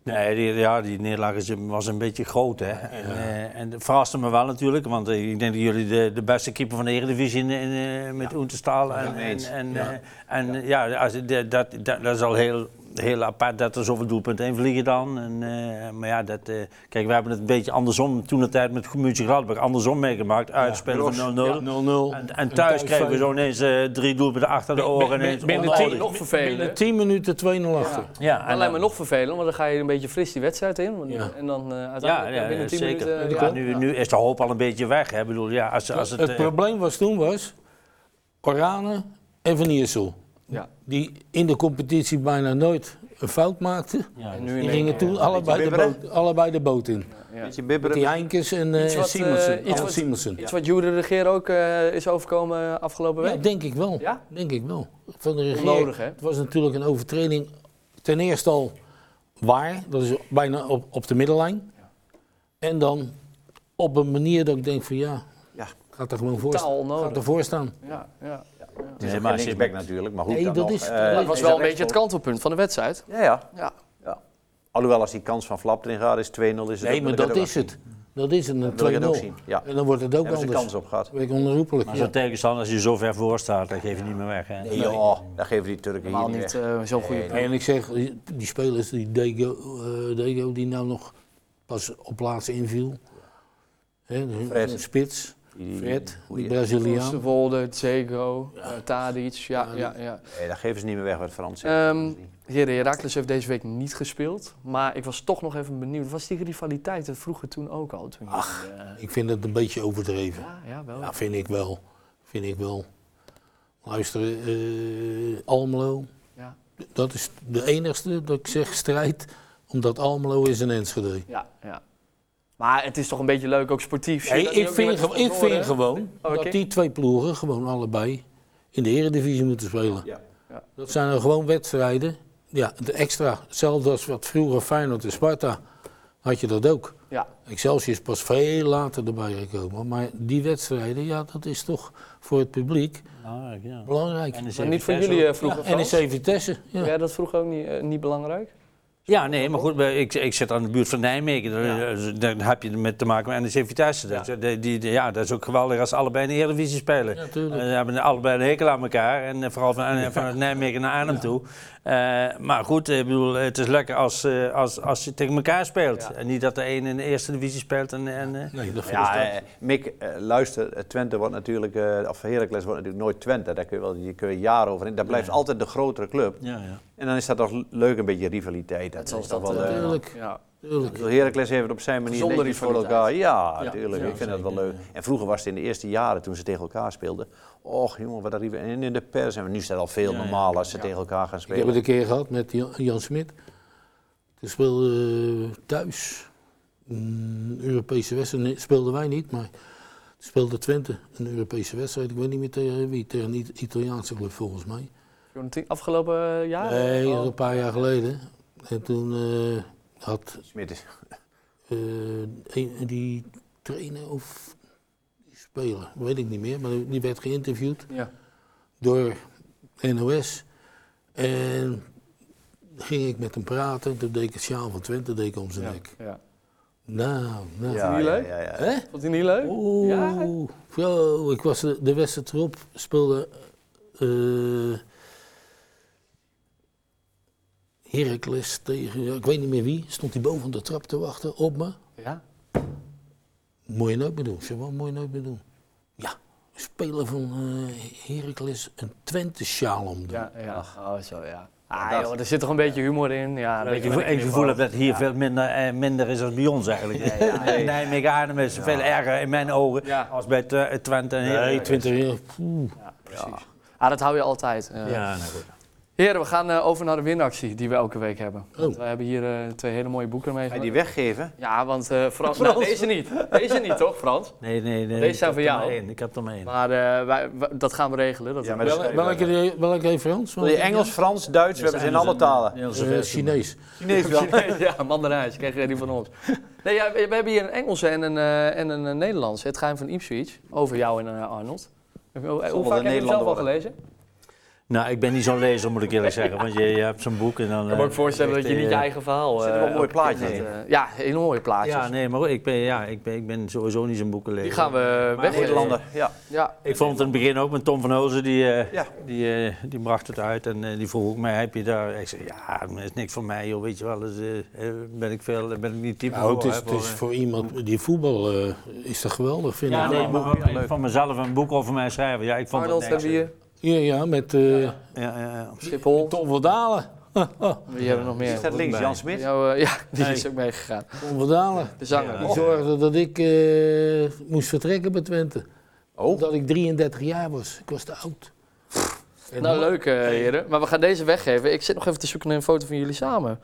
Nee, die, ja, die nederlaag is, was een beetje groot. Hè. En, eh, en dat verraste me wel natuurlijk, want eh, ik denk dat jullie de, de beste keeper van de Eredivisie in, in, eh, met Oentestaal. En, en,
eens.
en, eh, en eh, ja, als, de- dat, dat, dat is al heel, heel apart dat er zoveel doelpunten in vliegen dan. En, eh, maar ja, dat, eh, kijk, we hebben het een beetje andersom toen de tijd met München Gladbach andersom meegemaakt. Uitspelen van 0-0.
0-0.
En, en thuis kregen we zo ineens eh, drie doelpunten achter de oren. ineens
Binnen
onnodig.
10
nog vervelend, hè?
binnen 10 minuten 2-0 achter.
Ja,
Dat
en
lijkt me
dan-
nog vervelend, want dan ga je een beetje fris die wedstrijd in. want-
Ja.
En dan eh
Ja,
uiteindelijk
ja,
binnen 10
zeker.
minuten... eh,
Ja, nu, nu is de hoop al een beetje weg. Hè. Ik bedoel, ja, als, als het,
Het
eh,
probleem was toen was, Orane en Van Iersel.
Ja.
die in de competitie bijna nooit een fout maakten.
Ja,
En nu in
Die
één
gingen
keer.
toen allebei de,
bibberen.
boot, allebei de boot in.
Beetje
Met
bibberen.
die Heinkens en
Iets
eh en
wat,
Simonsen.
eh, iets
Alan
wat-
Simonsen.
Iets wat Jude de Regeer ook eh, is overkomen afgelopen
Ja,
week.
denk ik wel.
Ja?
Denk ik wel. Van de
Onnodig,
regering.
hè?
Het was natuurlijk een overtreding. Ten eerste al waar, dat is bijna op, op de middenlijn. En dan op een manier dat ik denk van ja,
Ja.
gaat er gewoon voor,
Totaal onnodig.
gaat ervoor staan.
Ja, ja.
Het is
Nee,
ook
maar
geen
zit-
linksback natuurlijk, maar goed.
Nee,
dan
dat
nog.
is-
Eh,
dat
Dat was
is
wel
dat
een beetje het kantelpunt van de wedstrijd.
Ja, ja.
Ja.
ja. Alhoewel, als die kans van Flap erin gaat, is 2-0. Is het
Nee, maar dat is het. Dat is het, een
wil ik het ook
2-0.
zien, ja.
En dan wordt het ook
Hebben ze
anders.
kans op gehad.
Dat weet ik onherroepelijk.
Maar
ja.
zo'n tegenstander, als je zo ver voor staat, dat geef je niet meer weg. Hè?
Ja, dat geven die Turken hier
Helemaal
niet
niet
weg.
eh, zo'n goede
En ik zeg, die spelers, die Dego, eh, Dego die nou nog pas op plaats inviel. Hè, de-
Fred.
de Spits,
Die-
Fred, die
goeie.
Braziliaan.
Wolde, Zego, eh, Tadic. Ja, ja, ja.
eh.
Nee, dat geven ze niet meer weg, wat Frans zegt.
Ehm Heren, Herakles heeft deze week niet gespeeld. Maar ik was toch nog even benieuwd. Was die rivaliteit er vroeger toen ook al? Toen Ach.
Ik vind het een beetje overdreven.
ja, ja, wel.
Ja, vind ik wel. Vind ik wel. Luister, eh, Almelo,
Ja.
dat is de enigste dat ik zeg strijd, omdat Almelo is een Enschede.
Ja, ja. Maar het is toch een beetje leuk, ook sportief. Zie je
Nee,
dat
ik,
nu ook
vind,
weer
ge-
met
ik
verloren,
vind
hè?
gewoon
Oh, oké.
dat die twee ploegen gewoon allebei in de eredivisie moeten spelen.
Ja.
Ja.
Dat zijn dan gewoon wedstrijden. Ja, de extra. Hetzelfde als wat vroeger Feyenoord en Sparta had je dat ook.
Ja,
Excelsior is pas veel later erbij gekomen. Maar die wedstrijden, ja, dat is toch voor het publiek
Belangrijk, Ah, ja.
belangrijk.
En de
maar niet voor
Vitesse
jullie
ook.
eh, vroeger.
Ja, E
Frans?
NEC Vitesse. Ja.
Vond jij dat vroeger ook niet, eh, niet belangrijk?
Ja, nee, maar goed, maar ik, ik zit aan de buurt van Nijmegen. Daar, daar heb je met te maken met NEC Vitesse. Dat, die, die- ja, dat is ook geweldig als ze allebei in de Eredivisie spelen. Eh,
Ja,
Ze
tuurlijk.
hebben allebei een hekel aan elkaar. En eh, vooral van, eh, vanuit Nijmegen naar Arnhem toe. Eh, maar goed, ik bedoel, het is lekker als, eh, als, als je tegen elkaar speelt. En niet dat de een in de Eerste Divisie speelt en... en eh,
Nee, dat vind ik
Ja, eh, Mick, eh, luister, eh, Twente wordt natuurlijk, eh, of Heracles wordt natuurlijk nooit Twente. Daar kun je, wel, je kun je jaren over in. Dat blijft altijd de grotere club.
ja, ja.
En dan is dat toch leuk, een beetje rivaliteit. Dat, is toch wel...
eh,
eh,
Tuurlijk.
Ja.
tuurlijk.
Ik bedoel, Heracles heeft het op zijn manier
Zonder
netjes voor
rivaliteit.
elkaar. Ja,
Ja,
tuurlijk.
ja,
ik vind dat wel leuk. En vroeger was het in de eerste jaren toen ze tegen elkaar speelden. Och jongen, wat dat rive- En in de pers. En nu is dat al veel normaal als ze tegen elkaar gaan
Ik heb het
spelen.
een keer gehad met Jan, Jan Smit. Toen speelde eh, thuis een Europese wedstrijd. Nee, speelden wij niet, maar toen speelde Twente een Europese wedstrijd. Ik weet niet meer tegen wie. Tegen een I- Italiaanse club volgens mij.
Jonathan, Afgelopen eh, jaar?
Nee, dat is een
Oh.
paar jaar geleden. En toen eh, had
Smit is-
eh, een- die trainer of die speler, weet ik niet meer, maar die werd geïnterviewd
Ja.
door NOS. En ging ik met hem praten. Toen deed ik het sjaal van Twente deed ik om zijn
Ja.
nek.
ja.
Nou, nou.
Ja,
niet
ja,
leuk?
ja, ja.
Hè?
Vond hij niet leuk?
Oeh.
Ja.
Zo, ik was de, de wedstrijd erop, speelde eh Heracles tegen, ja, ik weet niet meer wie, stond hij boven de trap te wachten op me.
Ja.
Moet je nooit meer doen. Ik zeg, wat moet je nooit meer doen? Ja, spelen van eh Heracles een Twente-sjaal om. doen.
Ja, ja. Oh, zo ja. Ah, joh, er zit toch een beetje humor in. Ja,
Ik gevoel, ik gevoel heb dat hier veel minder, eh, minder is dan bij ons eigenlijk. Nijmegen Arnhem is veel erger in mijn ogen
Ja.
als bij Tw- Twente en Heracles.
Nee, Twente, ja, poeh.
Precies. Ah, dat hou je altijd. eh.
Ja, nou goed.
Heren, we gaan eh, over naar de winactie die we elke week hebben. Want
Oh.
we hebben hier eh, twee hele mooie boeken mee.
Ga je die weggeven?
Ja, want eh, Frans... nou, deze niet. Deze niet, toch, Frans?
Nee, nee, nee.
Deze
ik
zijn
heb
voor
er maar
jou.
één, Ik heb er maar één.
Maar eh, wij, wij- dat gaan we regelen. Dat
Ja, maar
we-
dat
Wel-
schrijven
welke,
wij wel.
die- welke heeft Frans?
Wil je Engels, Frans, Duits? We hebben ze in alle talen.
Heel
Eh,
zover.
Chinees.
Chinees wel.
Chinees, ja, mandarijs. Krijg je die van ons. Nee, ja, we we hebben hier een Engelse en een, eh, en een eh, Nederlandse. Het geheim van Ipswich. Over jou en eh, Arnold. Heb je- Hoe,
wel
hoe
de
vaak heb je het zelf
Nederlander
al
worden.
gelezen?
Nou, ik ben niet zo'n lezer, moet ik eerlijk zeggen. Want je, je hebt zo'n boek en dan... eh,
Ik kan me ook voorstellen dat je niet je eigen verhaal... eh,
zit er eh, wel een mooi plaatje in.
ja, hele mooie plaatjes.
Ja, nee, maar goed, ik ben, ja, ik ben, ik ben sowieso niet zo'n boekenlezer.
Die gaan we weg.
Nederlander, ja.
Ja,
Ik vond het in het begin ook met Tom van Hozen, die, eh,
Ja.
die, eh, die bracht het uit en eh, die vroeg ook mij, heb je daar... Ik zei, ja, dat is niks voor mij, joh, weet je wel, dus, eh, eh, ben ik veel, ben ik niet type
Nou, het
voor,
is,
hè,
het
voor,
is
eh.
voor iemand die voetbal eh, is dat geweldig, vind
Ja,
ik.
nee, maar ook van mezelf een boek over mij schrijven, ja, ik vond
Arnold
het
hebben we
niks. eh.
hier.
Ja, ja, met eh
Ja, ja, ja.
Schiphol.
Tom van Dalen.
Wie hebben we nog
Die
meer?
staat links, Jan Smit.
Jou, eh, ja, die
Nee.
is ook meegegaan.
Tom van Dalen.
De zanger.
Die zorgde dat ik eh, moest vertrekken bij Twente.
Oh,
Omdat ik 33 jaar was. Ik was te oud. En-
Nou, leuk eh, heren. Maar we gaan deze weggeven. Ik zit nog even te zoeken naar een foto van jullie samen.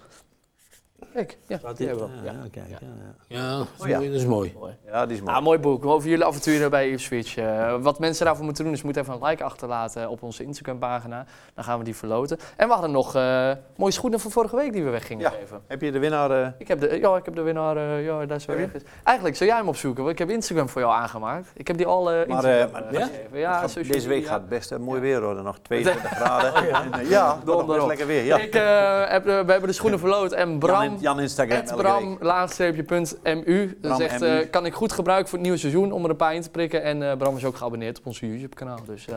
Kijk, ja.
Staat
die
dit?
hebben we.
eh.
Ja, ja, kijk, ja, ja.
Ja, dat is,
Oh ja.
mooi, dat is mooi.
Ja, die is mooi.
Ah, mooi boek over jullie avonturen bij Ipswich. Eh, wat mensen daarvoor moeten doen is moeten even een like achterlaten op onze Instagram-pagina. Dan gaan we die verloten. En we hadden nog eh mooie schoenen van vorige week die we weg gingen
Ja.
geven.
Heb je de winnaar? eh,
Ik heb de, ja, ik heb de winnaar. eh, ja, daar is hij
Heb
weg. Eigenlijk zou jij hem opzoeken, want ik heb Instagram voor jou aangemaakt. Ik heb die al eh Instagram
eh, maar-
eh,
Ja?
gegeven. Ja, Oh,
gaat-
social
deze week
media.
gaat het best eh, mooi weer worden. Nog 22 graden. En, eh, ja, dat nog best
Donderop.
lekker weer. Ja.
Ik, eh, heb, de- we hebben de schoenen verloot en Bram...
Jan, in- Jan Instagram
Het
elke
Bram,
week.
laagstreepje, punt, MU. Dat
Bram,
zegt,
MU.
eh, kan ik goed gebruiken voor het nieuwe seizoen om er een paar in te prikken. En eh, Bram is ook geabonneerd op onze YouTube-kanaal. Dus eh,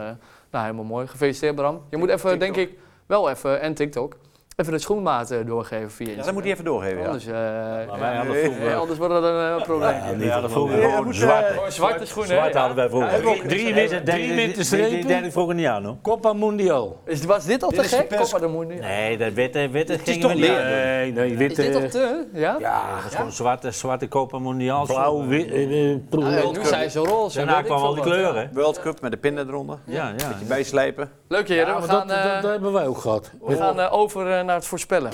nou, helemaal mooi. Gefeliciteerd, Bram. Je moet even, denk ik, wel even, en TikTok, even de schoenmaat eh, doorgeven via
Ja,
Instagram.
Dus dat moet hij even doorgeven. Ja.
Anders, eh,
Maar
ja,
wij hadden
nee.
vroeger...
eh, anders wordt dat een eh, probleem.
Ja,
niet
niet
dat
dat
vroeger.
vroeger.
Ja,
Gewoon
moet, eh,
zwarte.
Oh, zwarte schoenen. hè?
Zwarte hadden wij
Ja,
vroeger.
ook-
Drie witte
drie witte strepen.
Derde vroeger niet aan, hoor.
Copa Mundial.
Is, was dit al te
is de
gek?
pers-
Kom maar, dan moet je-
Nee, dat witte, witte
is
gingen
toch
we niet
leer.
aan.
Nee, nee,
Is dit eh, al te? Ja?
Ja, dat is gewoon zwarte, zwarte Copa Mondiaal.
Blauw, wit, eh, eh,
Ah,
proef-
nu zijn ze roze. weet
Daarna
ik
kwamen
veel
al die
wat.
kleuren.
World Cup met de pinnen eronder.
Ja, ja. ja.
Bijslijpen.
Leuk heren,
Ja,
we
maar
gaan...
dat, dat,
eh,
dat hebben wij ook gehad.
We gaan eh, over eh, naar het voorspellen.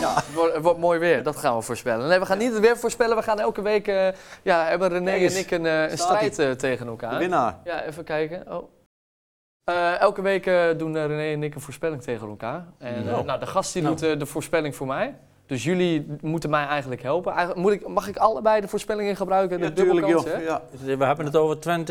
Ja, het wordt, het wordt mooi weer, dat gaan we voorspellen. Nee, we gaan niet het weer voorspellen, we gaan elke week... eh, ja, hebben René
Kijk eens,
en ik een, eh, een
staat
strijd eh, tegen
De
elkaar.
winnaar.
Ja, even kijken. Oh. Eh, elke week eh, doen eh, René en ik een voorspelling tegen elkaar. En eh,
Nou.
nou, de gast die doet eh, de voorspelling voor mij. Dus jullie moeten mij eigenlijk helpen. Eigenlijk, moet ik, mag ik allebei de voorspellingen gebruiken? De
Natuurlijk,
dubbelkans,
joh.
hè?
Ja.
We hebben het over Twente.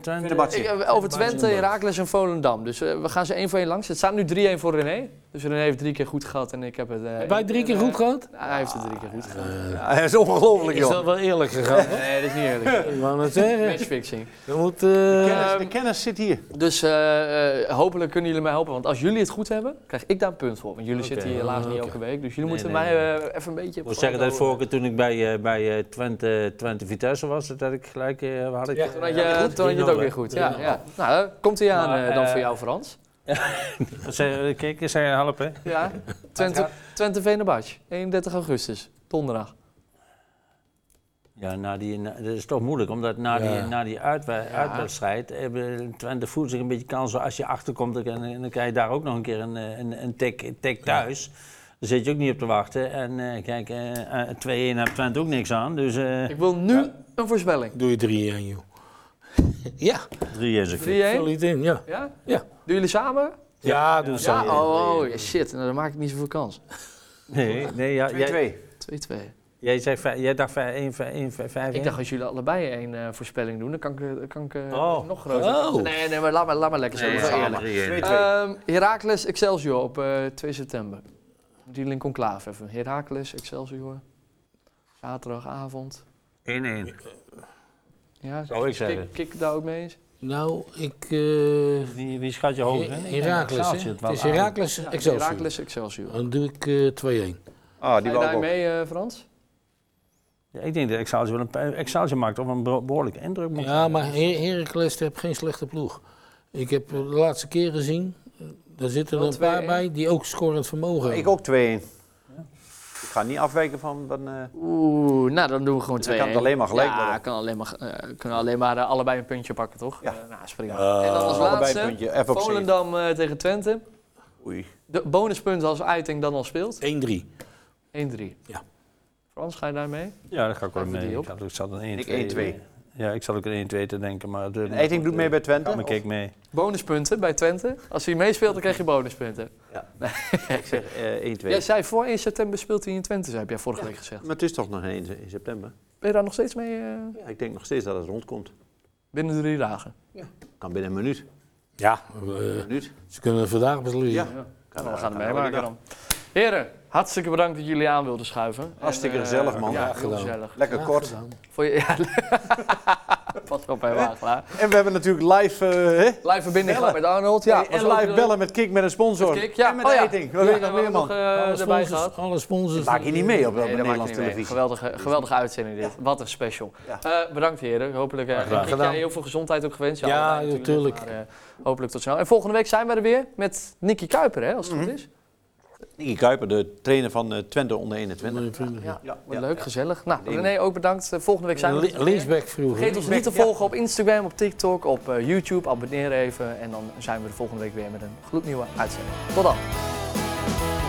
Twente.
Fenerbahce.
Ik, eh, over Twente, Heracles en Volendam. Dus eh, we gaan ze één voor één langs. Het staat nu 3-1 voor René. Dus René heeft drie keer goed gehad en ik heb het... eh,
Hebben wij drie
één
keer
eh,
goed gehad?
Hij heeft het drie keer goed gedaan.
Eh.
Ja, dat is ongelooflijk,
Is
joh.
dat wel eerlijk gegaan?
Nee, dat is niet eerlijk.
Ik wou net zeggen.
Matchfixing.
Je moet... eh,
Kennis-
ehm,
de kennis zit hier.
Dus eh, eh, hopelijk kunnen jullie mij helpen. Want als jullie het goed hebben, krijg ik daar een punt voor. Want jullie
Oké.
zitten hier helaas niet
Oké.
elke week. Dus jullie
Nee,
moeten
nee,
mij
nee.
eh, even een beetje...
Ik moet zeggen dat vorige keer toen ik bij, eh, bij eh, Twente, Twente Vitesse was, dat ik gelijk eh, had ik.
Ja,
eh,
Toen had
had ik
je,
goed.
toen had je het ook weer goed. Ja, ja. Nou, eh, komt hij aan
Maar,
eh, dan
eh,
voor jou, Frans.
Zeg, eh, Kijk, zei helpen.
Ja. Twente, Twente Venebadje, 31 augustus, donderdag.
Ja, na die, na- dat is toch moeilijk, omdat na
Ja.
die, na die uitwe- uitwedstrijd hebben Twente voelt zich een beetje kans. Als je achterkomt, dan, dan dan krijg je daar ook nog een keer een, eh, een, een tik, tik thuis. Daar zit je ook niet op te wachten. En eh, kijk, eh, eh, 2-1 heeft Twente ook niks aan, dus eh 3-1
Ik wil nu een voorspelling. 3-1?
Doe je drie aan, joh. ja,
is het.
vul je het in, ja.
Ja?
Ja.
Doen jullie samen?
Ja, doe zo.
Ja, oh, oh, ja, shit, nou, dan maak ik niet zoveel kans. 2-2.
Nee, nee ja, jij,
2-2.
jij, zei, vij- jij dacht 1 5
Ik dacht, als jullie allebei één eh, voorspelling doen, dan kan ik, eh, kan ik eh,
Oh.
nog groter.
Oh.
Nee, nee, maar laat maar, laat maar lekker zo.
Nee,
dat is wel
ja,
eerlijk.
2-2.
Ehm, Heracles Excelsior op eh, 2 september. Moet Die Lincoln Klaaf even. Heracles Excelsior. Zaterdagavond.
1-1.
Ja,
Zou ik zeggen.
Kik, kik daar ook mee eens.
Nou, ik... eh
Wie, wie schat je hoog? hè?
Herakles, hè?
Excelsior,
Het
wel
is
aan.
Herakles
Ja,
Excelsior.
Heracles Excelsior.
Dan doe ik
Ga
Ah,
eh 2-1.
die
je
wou ik
daar
ook.
mee, eh, Frans?
Ja, ik denk dat Excelsior, wel een, Excelsior maakt toch een beho- behoorlijke indruk. moet ik
Ja, maar Her Heracles heeft geen slechte ploeg. Ik heb eh, de laatste keer gezien, eh, daar zitten er
Wel
een paar
2-1.
bij die ook scorend vermogen
Ik
hebben.
ook 2-1. Ik ga niet afwijken van... van eh,
Oeh, nou dan doen we gewoon
Dus dan
twee.
kan het alleen maar gelijk
Ja,
worden.
kan alleen maar, eh, kunnen alleen maar eh, allebei een puntje pakken, toch?
Ja.
Eh, nou, springen. en dan als
allebei
laatste,
een puntje. Even op zeven.
Volendam eh, tegen Twente.
Oei.
De bonuspunt als Uiting dan al speelt.
1-3.
1-3.
Ja.
Frans, ga je daarmee?
Ja, dat ga ik wel
Even die
mee.
op.
Ik had, ik zat aan
Ik
1-2.
1-2.
Ja, ik zat ook aan 1-2 te denken, maar... De,
En Eiting doet mee bij Twente?
Maar kijk mee.
Bonuspunten bij Twente. Als hij meespeelt, dan krijg je bonuspunten.
Ik zeg eh, 1-2.
Jij zei voor 1 september speelt hij in Twente, heb jij vorige week gezegd.
Maar het is toch nog in, in september?
Ben je daar nog steeds mee eh,
Ja, ik denk nog steeds dat het rondkomt.
binnen drie dagen?
Kan binnen een minuut.
Ja,
Een
eh,
minuut.
ze kunnen vandaag beslissen.
Ja.
Kan,
Kan,
we
eh,
gaan het
kan
meemaken
wel,
dan. Heren, hartstikke bedankt dat jullie aan wilden schuiven.
Hartstikke
En, eh,
gezellig, man.
Ja,
Ja,
heel
gedaan.
gezellig.
Lekker kort.
gedaan.
Voor je, ja, pas op, helemaal klaar.
En we hebben natuurlijk live... eh, hè?
Live verbinding
Bellen.
gehad met Arnold. Ja, was
en
ook,
live
eh,
bellen met Kik met een sponsor.
Kik, ja.
En met
Oh, ja.
Eiting. Wat wil je
ja,
nog
we
meer,
hebben
man?
nog, eh,
alle,
erbij
sponsors,
gehad.
alle sponsors.
Maak je niet mee op
Nee, dat maakt
de Nederlandse
niet mee.
televisie.
Geweldige, geweldige uitzending dit. Wat een special. Eh, bedankt heren. Hopelijk eh,
gedaan.
ik heb jij heel veel gezondheid ook gewenst.
Ja,
allebei natuurlijk.
natuurlijk.
Mhm.
Maar, eh, hopelijk tot snel. En volgende week zijn we er weer met Nicky Kuiper, hè, als het goed is.
Nicky Kuiper, de trainer van eh, Twente onder 21.
Nee, vrienden.
Ja,
Ja,
wordt
ja,
leuk,
ja.
gezellig. Nou,
Ding.
René, ook bedankt. Eh, Volgende week zijn we er
Li-
weer.
Linksback vroeger.
Vergeet ons niet te volgen op Instagram, op TikTok, op eh, YouTube. Abonneer even en dan zijn we er volgende week weer met een gloednieuwe uitzending. Tot dan.